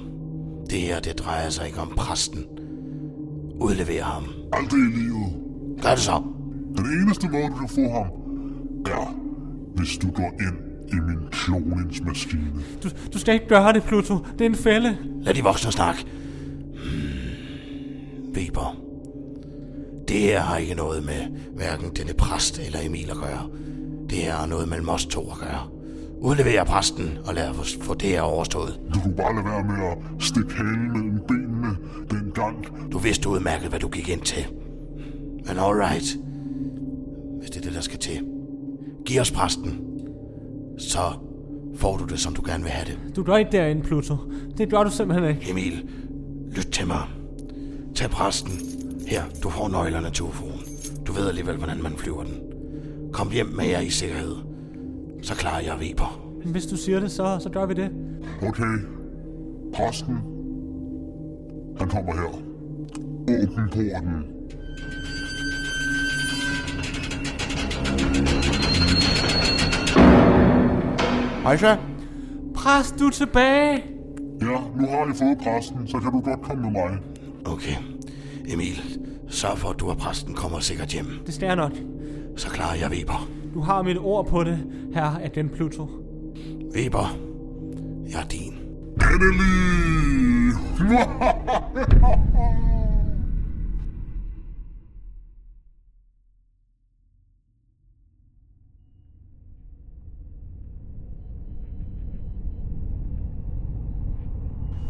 Speaker 2: Det her, det drejer sig ikke om præsten. Udlever ham.
Speaker 1: Aldrig i livet.
Speaker 2: Gør det så.
Speaker 1: Den eneste måde, du kan få ham, er, hvis du går ind i min kloningsmaskine.
Speaker 3: Du, du skal ikke gøre det, Pluto. Det er en fælde.
Speaker 2: Lad de voksne snakke. Hmm. Weber. Det her har ikke noget med hverken denne præst eller Emil at gøre. Det her har noget mellem os to at gøre. Udlever præsten, og lad os få det her overstået.
Speaker 1: Du kunne bare lade være med at stikke halen mellem benene dengang.
Speaker 2: Du vidste udmærket, hvad du gik ind til. Men all right. Hvis det er det, der skal til. Giv os præsten. Så får du det, som du gerne vil have det.
Speaker 3: Du går ikke derinde, Pluto. Det gør du simpelthen ikke.
Speaker 2: Emil, lyt til mig. Tag præsten. Her, du får nøglerne til UFO'en. Du ved alligevel, hvordan man flyver den. Kom hjem med jer i sikkerhed. Så klarer jeg Weber.
Speaker 3: Men Hvis du siger det, så, så gør vi det.
Speaker 1: Okay, præsten, han kommer her. Åbn porten.
Speaker 6: Hejsa.
Speaker 3: Præst, du er tilbage!
Speaker 1: Ja, nu har jeg fået præsten, så kan du godt komme med mig.
Speaker 6: Okay. Emil, sørg for, at du og præsten kommer sikkert hjem.
Speaker 3: Det skal jeg nok.
Speaker 6: Så klarer jeg Weber.
Speaker 3: Du har mit ord på det, her af den Pluto.
Speaker 6: Weber, jeg er din.
Speaker 1: Endelig!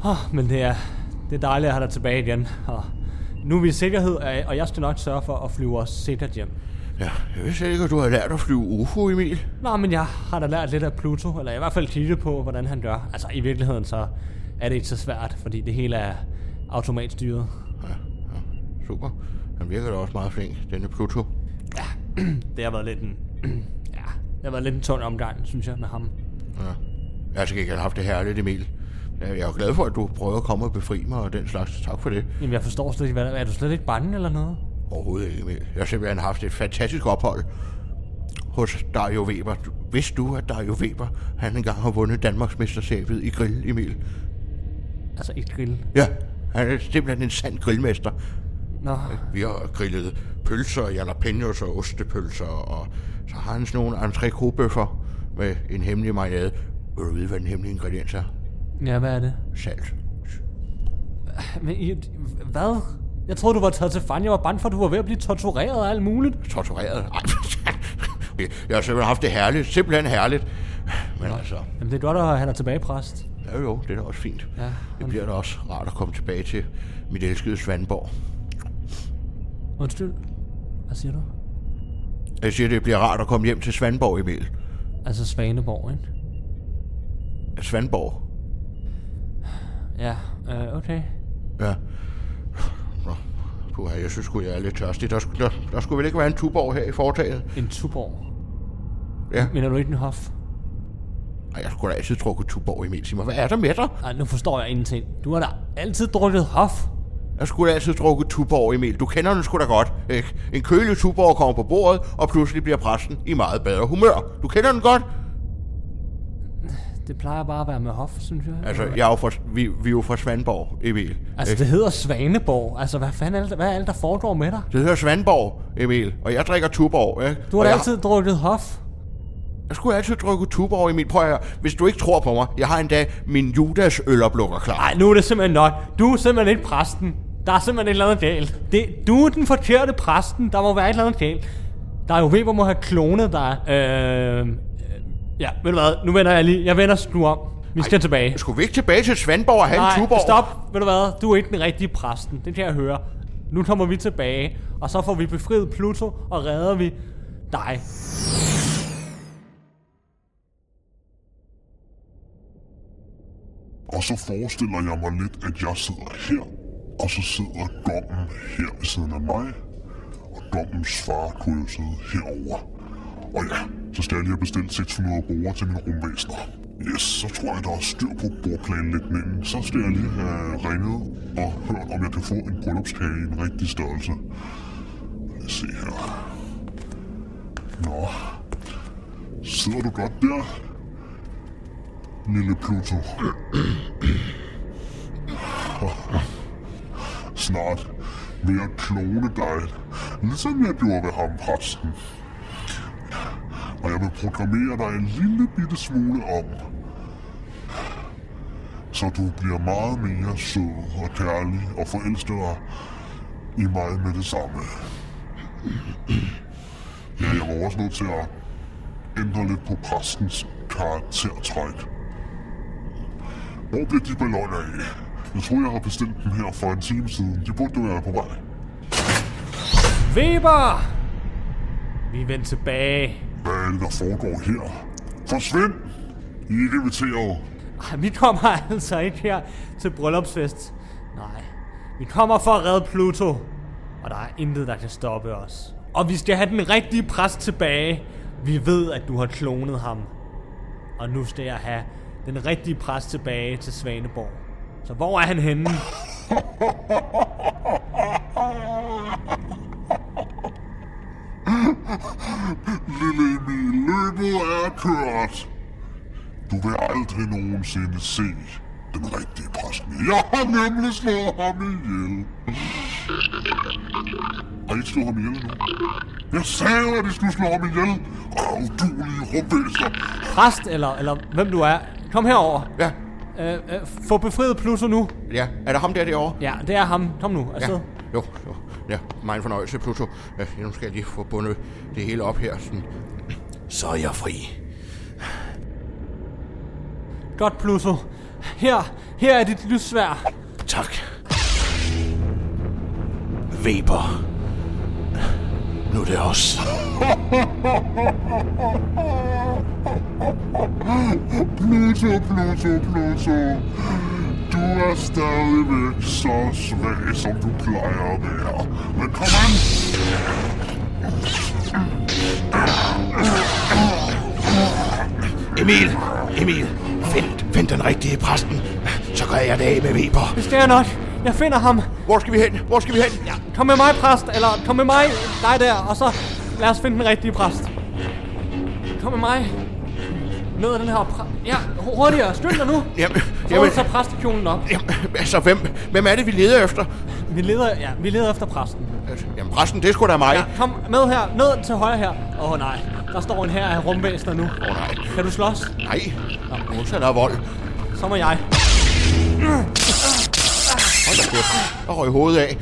Speaker 3: Oh, men det er, det er dejligt at have dig tilbage igen. Og nu er vi i sikkerhed, og- og jeg skal nok sørge for at flyve os sikkert hjem.
Speaker 6: Ja, jeg vidste ikke, at du havde lært at flyve UFO, Emil.
Speaker 3: Nå, men jeg har da lært lidt af Pluto, eller i hvert fald kigget på, hvordan han gør. Altså, i virkeligheden så er det ikke så svært, fordi det hele er automatstyret.
Speaker 6: Super. Han virker da også meget flink, denne Pluto.
Speaker 3: Det har været lidt en... ja, det har været lidt en tung omgang, synes jeg, med ham.
Speaker 6: Ja. Jeg har til gengæld haft det herligt, Emil. Ja, Jeg er jo glad for, at du prøver at komme og befri mig og den slags. Tak for det.
Speaker 3: Jamen, jeg forstår slet ikke, hvad er du slet ikke bange eller noget?
Speaker 6: Overhovedet ikke, Emil. Jeg har simpelthen haft et fantastisk ophold hos Dario Weber. Du- Vidste du, at Dario Weber, han engang har vundet Danmarks mesterskabet i grill, Emil?
Speaker 3: Altså, ikke grill.
Speaker 6: Ja, han er simpelthen en sand grillmester.
Speaker 3: Nå,
Speaker 6: Vi har grillet pølser, jalapenos og ostepølser, og så har han sådan nogle entrecôtebøffer med en hemmelig marinade. Vil du vide, hvad den hemmelige ingrediens er?
Speaker 3: ja, hvad er det?
Speaker 6: Salt.
Speaker 3: Men I, hvad? Jeg troede, du var taget til fange. Jeg var bange for, at du var ved at blive tortureret og alt muligt.
Speaker 6: Tortureret. Ej, jeg har simpelthen haft det herligt. Simpelthen herligt. Men altså,
Speaker 3: Jamen, det er godt, at han er tilbage, præst.
Speaker 6: ja jo, det er da også fint.
Speaker 3: Ja,
Speaker 6: det
Speaker 3: men-
Speaker 6: bliver da også rart at komme tilbage til mit elskede Svandborg.
Speaker 3: Undskyld. Hvad siger du?
Speaker 6: Jeg siger, det bliver rart at komme hjem til Svandborg, Emil.
Speaker 3: Altså Svaneborg, ikke?
Speaker 6: Svandborg.
Speaker 3: Ja, øh, okay.
Speaker 6: Ja. Nå, puha, jeg synes sgu, jeg er lidt tørstig. Der, sk- der, der skulle vel ikke være en tuborg her i foretaget?
Speaker 3: En tuborg.
Speaker 6: Ja.
Speaker 3: Men er du ikke en hof?
Speaker 6: Ej, jeg skulle da altid drukke tuborg, Emil. Sig mig, hvad er der med dig?
Speaker 3: Nej, nu forstår jeg ingenting. Du har da altid drukket hof.
Speaker 6: Jeg skulle da altid drukke tuborg, Emil. Du kender den sgu da godt, ikke? En kølig tuborg kommer på bordet, og pludselig bliver præsten i meget bedre humør. Du kender den godt?
Speaker 3: Det plejer bare at være med hof, synes jeg.
Speaker 6: Altså, jeg er jo fra, vi, vi er jo fra Svandborg, Emil.
Speaker 3: Altså, det hedder Svaneborg. Altså, hvad fanden er det, hvad er det, der foregår med dig?
Speaker 6: Det hedder Svandborg, Emil, og jeg drikker tuborg, ikke?
Speaker 3: Du har
Speaker 6: og
Speaker 3: da
Speaker 6: jeg,
Speaker 3: altid drukket hof.
Speaker 6: Jeg skulle altid drukke tuborg, Emil. Prøv at høre. Hvis du ikke tror på mig, jeg har endda min Judas øloplukker klar.
Speaker 3: Nej, nu er det simpelthen nok. Du er simpelthen ikke præsten. Der er simpelthen et eller andet galt. Det, du er den forkerte præsten. Der må være et eller andet galt. Der er jo Weber må have klonet dig. Øh, øh, ja, ved du hvad? Nu vender jeg lige. Jeg vender sgu om. Vi skal tilbage.
Speaker 6: Skulle vi ikke tilbage til Svendborg og have en tuborg?
Speaker 3: stop. Ved du hvad? Du er ikke den rigtige præsten. Det kan jeg høre. Nu kommer vi tilbage, og så får vi befriet Pluto, og redder vi dig.
Speaker 1: Og så forestiller jeg mig lidt, at jeg sidder her, og så sidder dommen her ved siden af mig. Og dommens far kunne jo sidde herover. Og ja, så skal jeg lige have bestilt 600 borger til mine rumvæsener. Yes, så tror jeg, der er styr på bordplanlægningen. Så skal jeg lige have ringet og hørt, om jeg kan få en bryllupskage i en rigtig størrelse. Lad os se her. Nå. Sidder du godt der? Lille Pluto. snart ved at klone dig, ligesom jeg gjorde ved ham præsten. Og jeg vil programmere dig en lille bitte smule om, så du bliver meget mere sød og kærlig og forelsker dig i mig med det samme. Ja, jeg var også nødt til at ændre lidt på præstens karaktertræk. Hvor blev de balloner af? Jeg tror, jeg har bestilt dem her for en time siden. De burde være på vej.
Speaker 3: Weber! Vi er vendt tilbage.
Speaker 1: Hvad er det, der foregår her? Forsvind! I er ikke inviteret.
Speaker 3: Ej, vi kommer altså ikke her til bryllupsfest. Nej, vi kommer for at redde Pluto. Og der er intet, der kan stoppe os. Og vi skal have den rigtige præst tilbage. Vi ved, at du har klonet ham. Og nu skal jeg have den rigtige præst tilbage til Svaneborg. Så hvor er han henne?
Speaker 1: Lille Emil, løbet er kørt. vil aldrig nogensinde se den rigtige præst. Jeg har nemlig slået ham ihjel. Har I ikke slået ham ihjel nu? Jeg sagde, at I skulle slå ham ihjel. Åh, udulige rumvæser.
Speaker 3: Præst, eller, eller hvem du er, kom herover.
Speaker 2: Ja,
Speaker 3: Øh, øh, få befriet Pluto nu.
Speaker 2: ja. Er der ham der derovre?
Speaker 3: Ja, det er ham. Kom nu, afsted.
Speaker 2: Ja. Jo, jo. Ja, meget en fornøjelse, Pluto. Ja, nu skal jeg lige få bundet det hele op her. Sådan. Så er jeg fri.
Speaker 3: Godt, Pluto. Her, her er dit lyssvær.
Speaker 2: Tak. Weber. Nu er det os.
Speaker 1: Pluto, Pluto, Pluto. Du er stadigvæk så svag, som du plejer at være. Men kom an!
Speaker 2: Emil! Emil! Find, find den rigtige præsten. Så gør jeg det af med Weber.
Speaker 3: Det skal jeg nok. Jeg finder ham.
Speaker 2: Hvor skal vi hen? Hvor skal vi hen? Ja.
Speaker 3: Kom med mig, præst, eller kom med mig, dig der, og så lad os finde den rigtige præst. Kom med mig. Ned ad den her præ- Ja, hu- hurtigere, skynd dig nu.
Speaker 2: Jamen,
Speaker 3: Jamen.
Speaker 2: jamen,
Speaker 3: Så præstekjolen op.
Speaker 2: jamen, altså, hvem, hvem er det, vi leder efter?
Speaker 3: Vi leder, ja, vi leder efter præsten.
Speaker 2: Altså, Jamen, præsten, det er sgu da mig.
Speaker 3: Ja, kom med her, ned til højre her. Åh oh, nej, der står en her af rumvæsener nu.
Speaker 2: Åh, nej.
Speaker 3: Kan du slås?
Speaker 2: Nej. Modsat af vold.
Speaker 3: Så må jeg.
Speaker 2: Hold da kæft. Jeg røg hovedet af.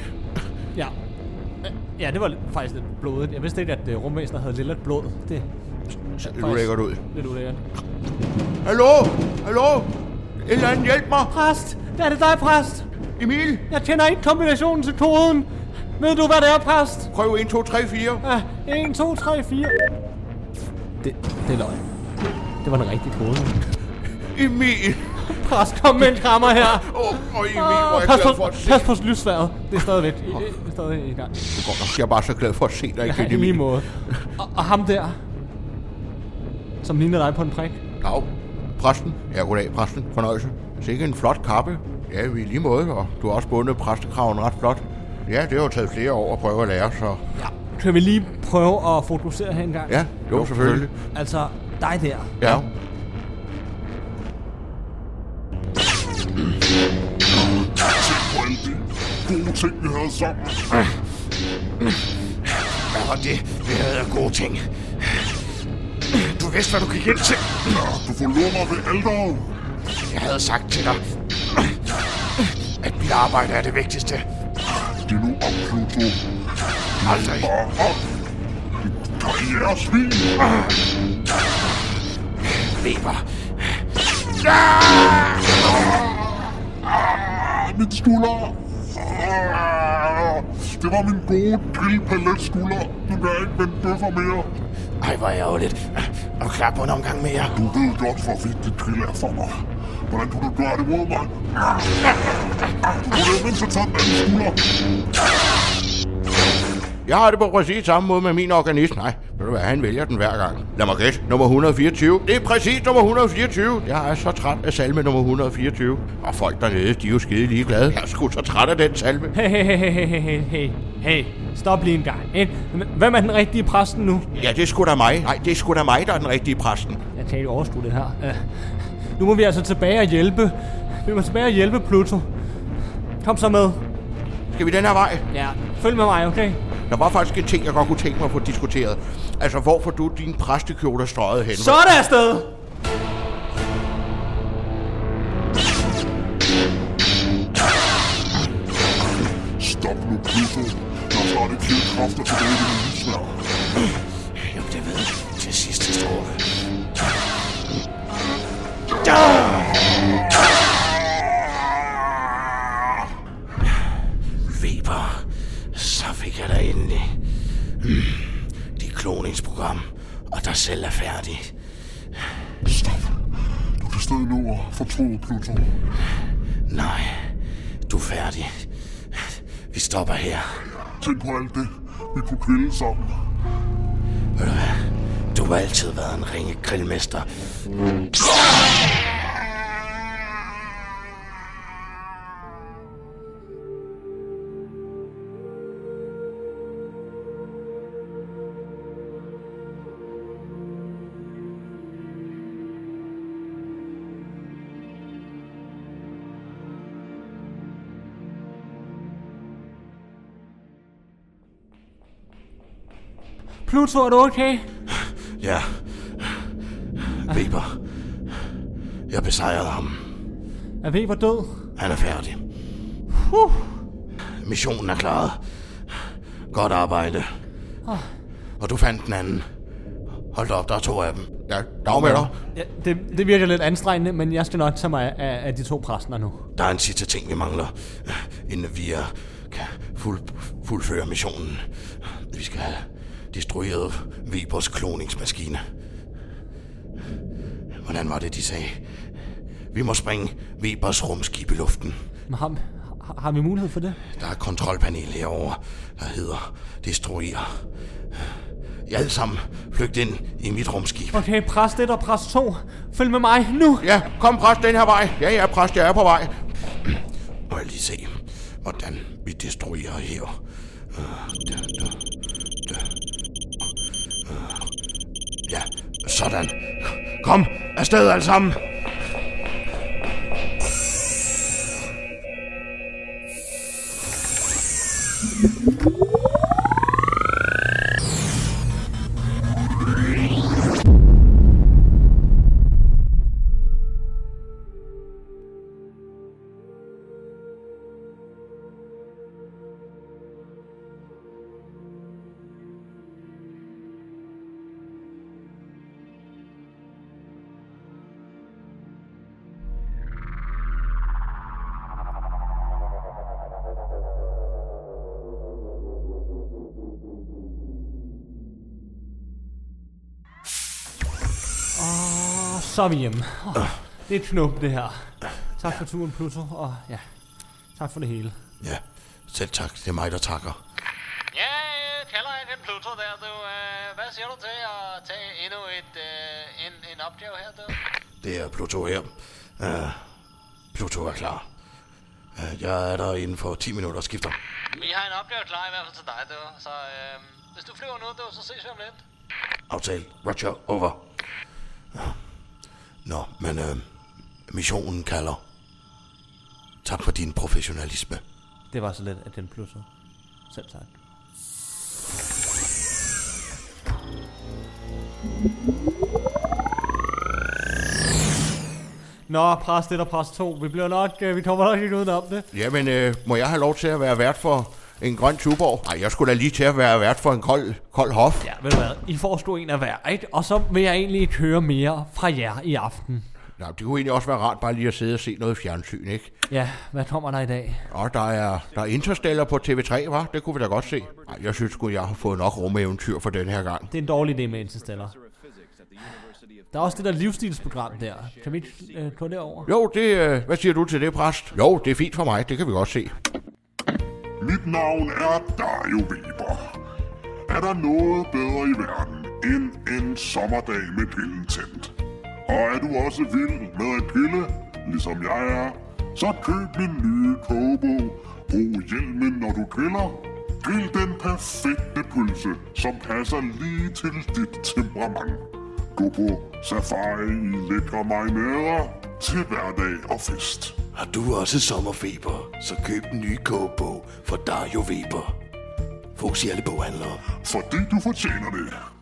Speaker 3: Ja. Øh, Ja, det var lidt- faktisk lidt blodet. Jeg vidste ikke, at uh, rumvæsener havde lilla blod. Det er
Speaker 2: Så det
Speaker 3: faktisk
Speaker 2: lækkert ud.
Speaker 3: lidt ulækkert.
Speaker 2: Hallo? Hallo? Et eller andet, hjælp mig.
Speaker 3: Præst! Der er det dig, præst!
Speaker 2: Emil,
Speaker 3: Jeg kender ikke kombinationen til koden. Ved du, hvad det er, præst?
Speaker 2: prøv 1, 2, 3, 4.
Speaker 3: Ja, 1, 2, 3, 4. Det, det er løgn. Det var den rigtige kode.
Speaker 2: Emil.
Speaker 3: Præst, kom med en krammer her.
Speaker 2: Åh, oh, Emil, hvor er jeg
Speaker 3: pas,
Speaker 2: glad for
Speaker 3: på,
Speaker 2: at se
Speaker 3: pas på lyssværet. Det er stadigvæk, i, i, stadig i gang.
Speaker 2: Det går nok. Jeg er bare så glad for at se dig
Speaker 3: Ja,
Speaker 2: igen,
Speaker 3: i lige måde. Og, og ham der, som ligner dig på en prik.
Speaker 2: Dag. Præsten. Ja, goddag, præsten. Fornøjelse. Sikke en flot kappe. Ja, vi er lige måde, og du har også bundet præstekraven ret flot. Ja, det har jo taget flere år at prøve at lære, så...
Speaker 3: Ja. Kan vi lige prøve at fokusere her en gang?
Speaker 2: Ja, jo, selvfølgelig.
Speaker 3: Altså, dig der.
Speaker 2: Ja.
Speaker 1: Tænk på alle de gode ting, vi havde sammen.
Speaker 2: Ja, og det, det er gode ting. Du vidste, hvad du gik ind til.
Speaker 1: Ja, du forlod mig ved alderen.
Speaker 2: Jeg havde sagt til dig, at mit arbejde er det vigtigste.
Speaker 1: Det er nu op, Pluto.
Speaker 2: Aldrig.
Speaker 1: Bare op. Dit Karrieresvin.
Speaker 2: Weber.
Speaker 1: Ah, min skulder. Ah, Det var min gode grillpalletskulder. Nu kan jeg ikke vende bøffer mere.
Speaker 2: Ej, hvor ærgerligt. Er du klar på en omgang mere?
Speaker 1: Du ved godt, hvor vigtigt grill er for mig. Hvordan kunne du gøre det mod mig? Ah, ah, ah, Du kunne da mindst have taget den anden skulder.
Speaker 2: Jeg har det på præcis samme måde med min organist. Nej, ved du hvad, han vælger den hver gang. Lad mig gætte, nummer 124. Det er præcis nummer 124. Jeg er så træt af salme nummer 124. Og folk dernede, de er jo skide ligeglade. Jeg er sgu så træt af den salme.
Speaker 3: Hey, hey, hey, hey, hey, hey, hey, hey. Stop lige en gang. ikke? Hvem- Hvem er den rigtige præsten nu?
Speaker 2: Ja, det er sgu da mig. Nej, det er sgu da mig, der er den rigtige præsten.
Speaker 3: Jeg kan ikke overskue det her. Øh, Nu må vi altså tilbage og hjælpe. Vi må tilbage og hjælpe Pluto. Kom så med.
Speaker 2: Skal vi den her vej?
Speaker 3: Ja. Følg med mig, okay?
Speaker 2: Der var faktisk en ting, jeg godt kunne tænke mig at få diskuteret. Altså, hvor får du din præstekjole strøget hen?
Speaker 3: Så er det afsted!
Speaker 1: Stop nu, Pluto. Der er snart ikke flere kræfter tilbage i min livsvær.
Speaker 2: Jamen, det ved jeg. Til sidste stråle. Weber, så fik jeg dig endelig. Mm, Dit kloningsprogram og dig selv er færdig.
Speaker 1: Stop. Du kan stadig nå at fortryde, Pluto.
Speaker 2: Nej, du er færdig. Vi stopper her.
Speaker 1: Tænk på alt det, vi kunne grille sammen.
Speaker 2: Ved du hvad? Du har altid været en ringe grillmester.
Speaker 3: Pluto, er du okay?
Speaker 2: Ja. Weber. Jeg besejrede ham.
Speaker 3: Er Weber død?
Speaker 2: Han er færdig.
Speaker 3: Huh.
Speaker 2: Missionen er klaret. Godt arbejde. Og du fandt den anden. Hold da op, der er to af dem. Ja, dag med dig.
Speaker 3: Ja, det, det virker lidt anstrengende, men jeg skal nok tage mig af, af de to præster nu.
Speaker 2: Der er en sidste ting, vi mangler, øh, inden vi er, kan fuld, fuldføre missionen. Vi skal have destrueret Webers kloningsmaskine. Hvordan var det, de sagde? Vi må springe Webers rumskib i luften.
Speaker 3: Men ham, har, har vi mulighed for det?
Speaker 2: Der er et kontrolpanel herovre, der hedder Destruer. I alle sammen flygt ind i mit rumskib.
Speaker 3: Okay, præst 1 og præst 2, følg med mig nu!
Speaker 2: Ja, kom præst den her vej. Ja, ja, præst, jeg er på vej. Må jeg lige se, hvordan vi destruerer her. Øh, da, da, da. Øh, Ja, sådan. Kom, afsted alle sammen.
Speaker 3: Og så er vi hjemme. Åh, Det er knup, det her. Tak for turen, Pluto, og ja, tak for det hele.
Speaker 2: Ja, selv tak. Det er mig, der takker.
Speaker 5: Ja, øh, kalder jeg den Pluto der, du. Øh, hvad siger du til at tage endnu et, øh, en, en opgave her, du?
Speaker 2: Det er Pluto her. Uh, Pluto er klar. Uh, jeg er der inden for 10 minutter og skifter.
Speaker 5: Vi har en opgave klar i hvert fald til dig, du. Så øh, hvis du flyver nu, du, så ses vi om lidt.
Speaker 2: Aftale. Roger, over. Nå, men øh, missionen kalder. Tak for din professionalisme.
Speaker 3: Det var så let, at den Pluto. Selv tak. Nå, præst 1 og præst 2, vi bliver nok, øh, vi kommer nok ikke udenom det.
Speaker 2: Jamen, øh, må jeg have lov til at være vært for en grøn tuborg? Nej, jeg skulle da lige til at være vært for en kold, kold hof.
Speaker 3: Ja, ved du hvad, I foreslog en af hver, ikke? Og så vil jeg egentlig ikke høre mere fra jer i aften.
Speaker 2: Nå, det kunne egentlig også være rart bare lige at sidde og se noget fjernsyn, ikke?
Speaker 3: Ja, hvad kommer der i dag?
Speaker 2: Og der er, der er Interstellar på TV3, var? Det kunne vi da godt se. Nej, jeg synes sgu, jeg har fået nok rumeventyr for den her gang.
Speaker 3: Det er en dårlig idé med Interstellar. Der er også det der livsstilsprogram der. Kan vi ikke øh, gå derover?
Speaker 2: Jo, det, øh, hvad siger du til det, præst? Jo, det er fint for mig, det kan vi godt se.
Speaker 1: Mit navn er Dario Weber. Er der noget bedre i verden end en sommerdag med grillen tændt? Og er du også vild med at grille, ligesom jeg er, så køb min nye kogebog. Brug hjelmen, når du griller. Grill den perfekte pølse, som passer lige til dit temperament. Gå på safari i lækre marinader til hverdag og fest.
Speaker 2: Har du også sommerfeber, så køb den nye kogebog for Dario Weber. Fokus i alle boghandlere.
Speaker 1: Fordi du fortjener det.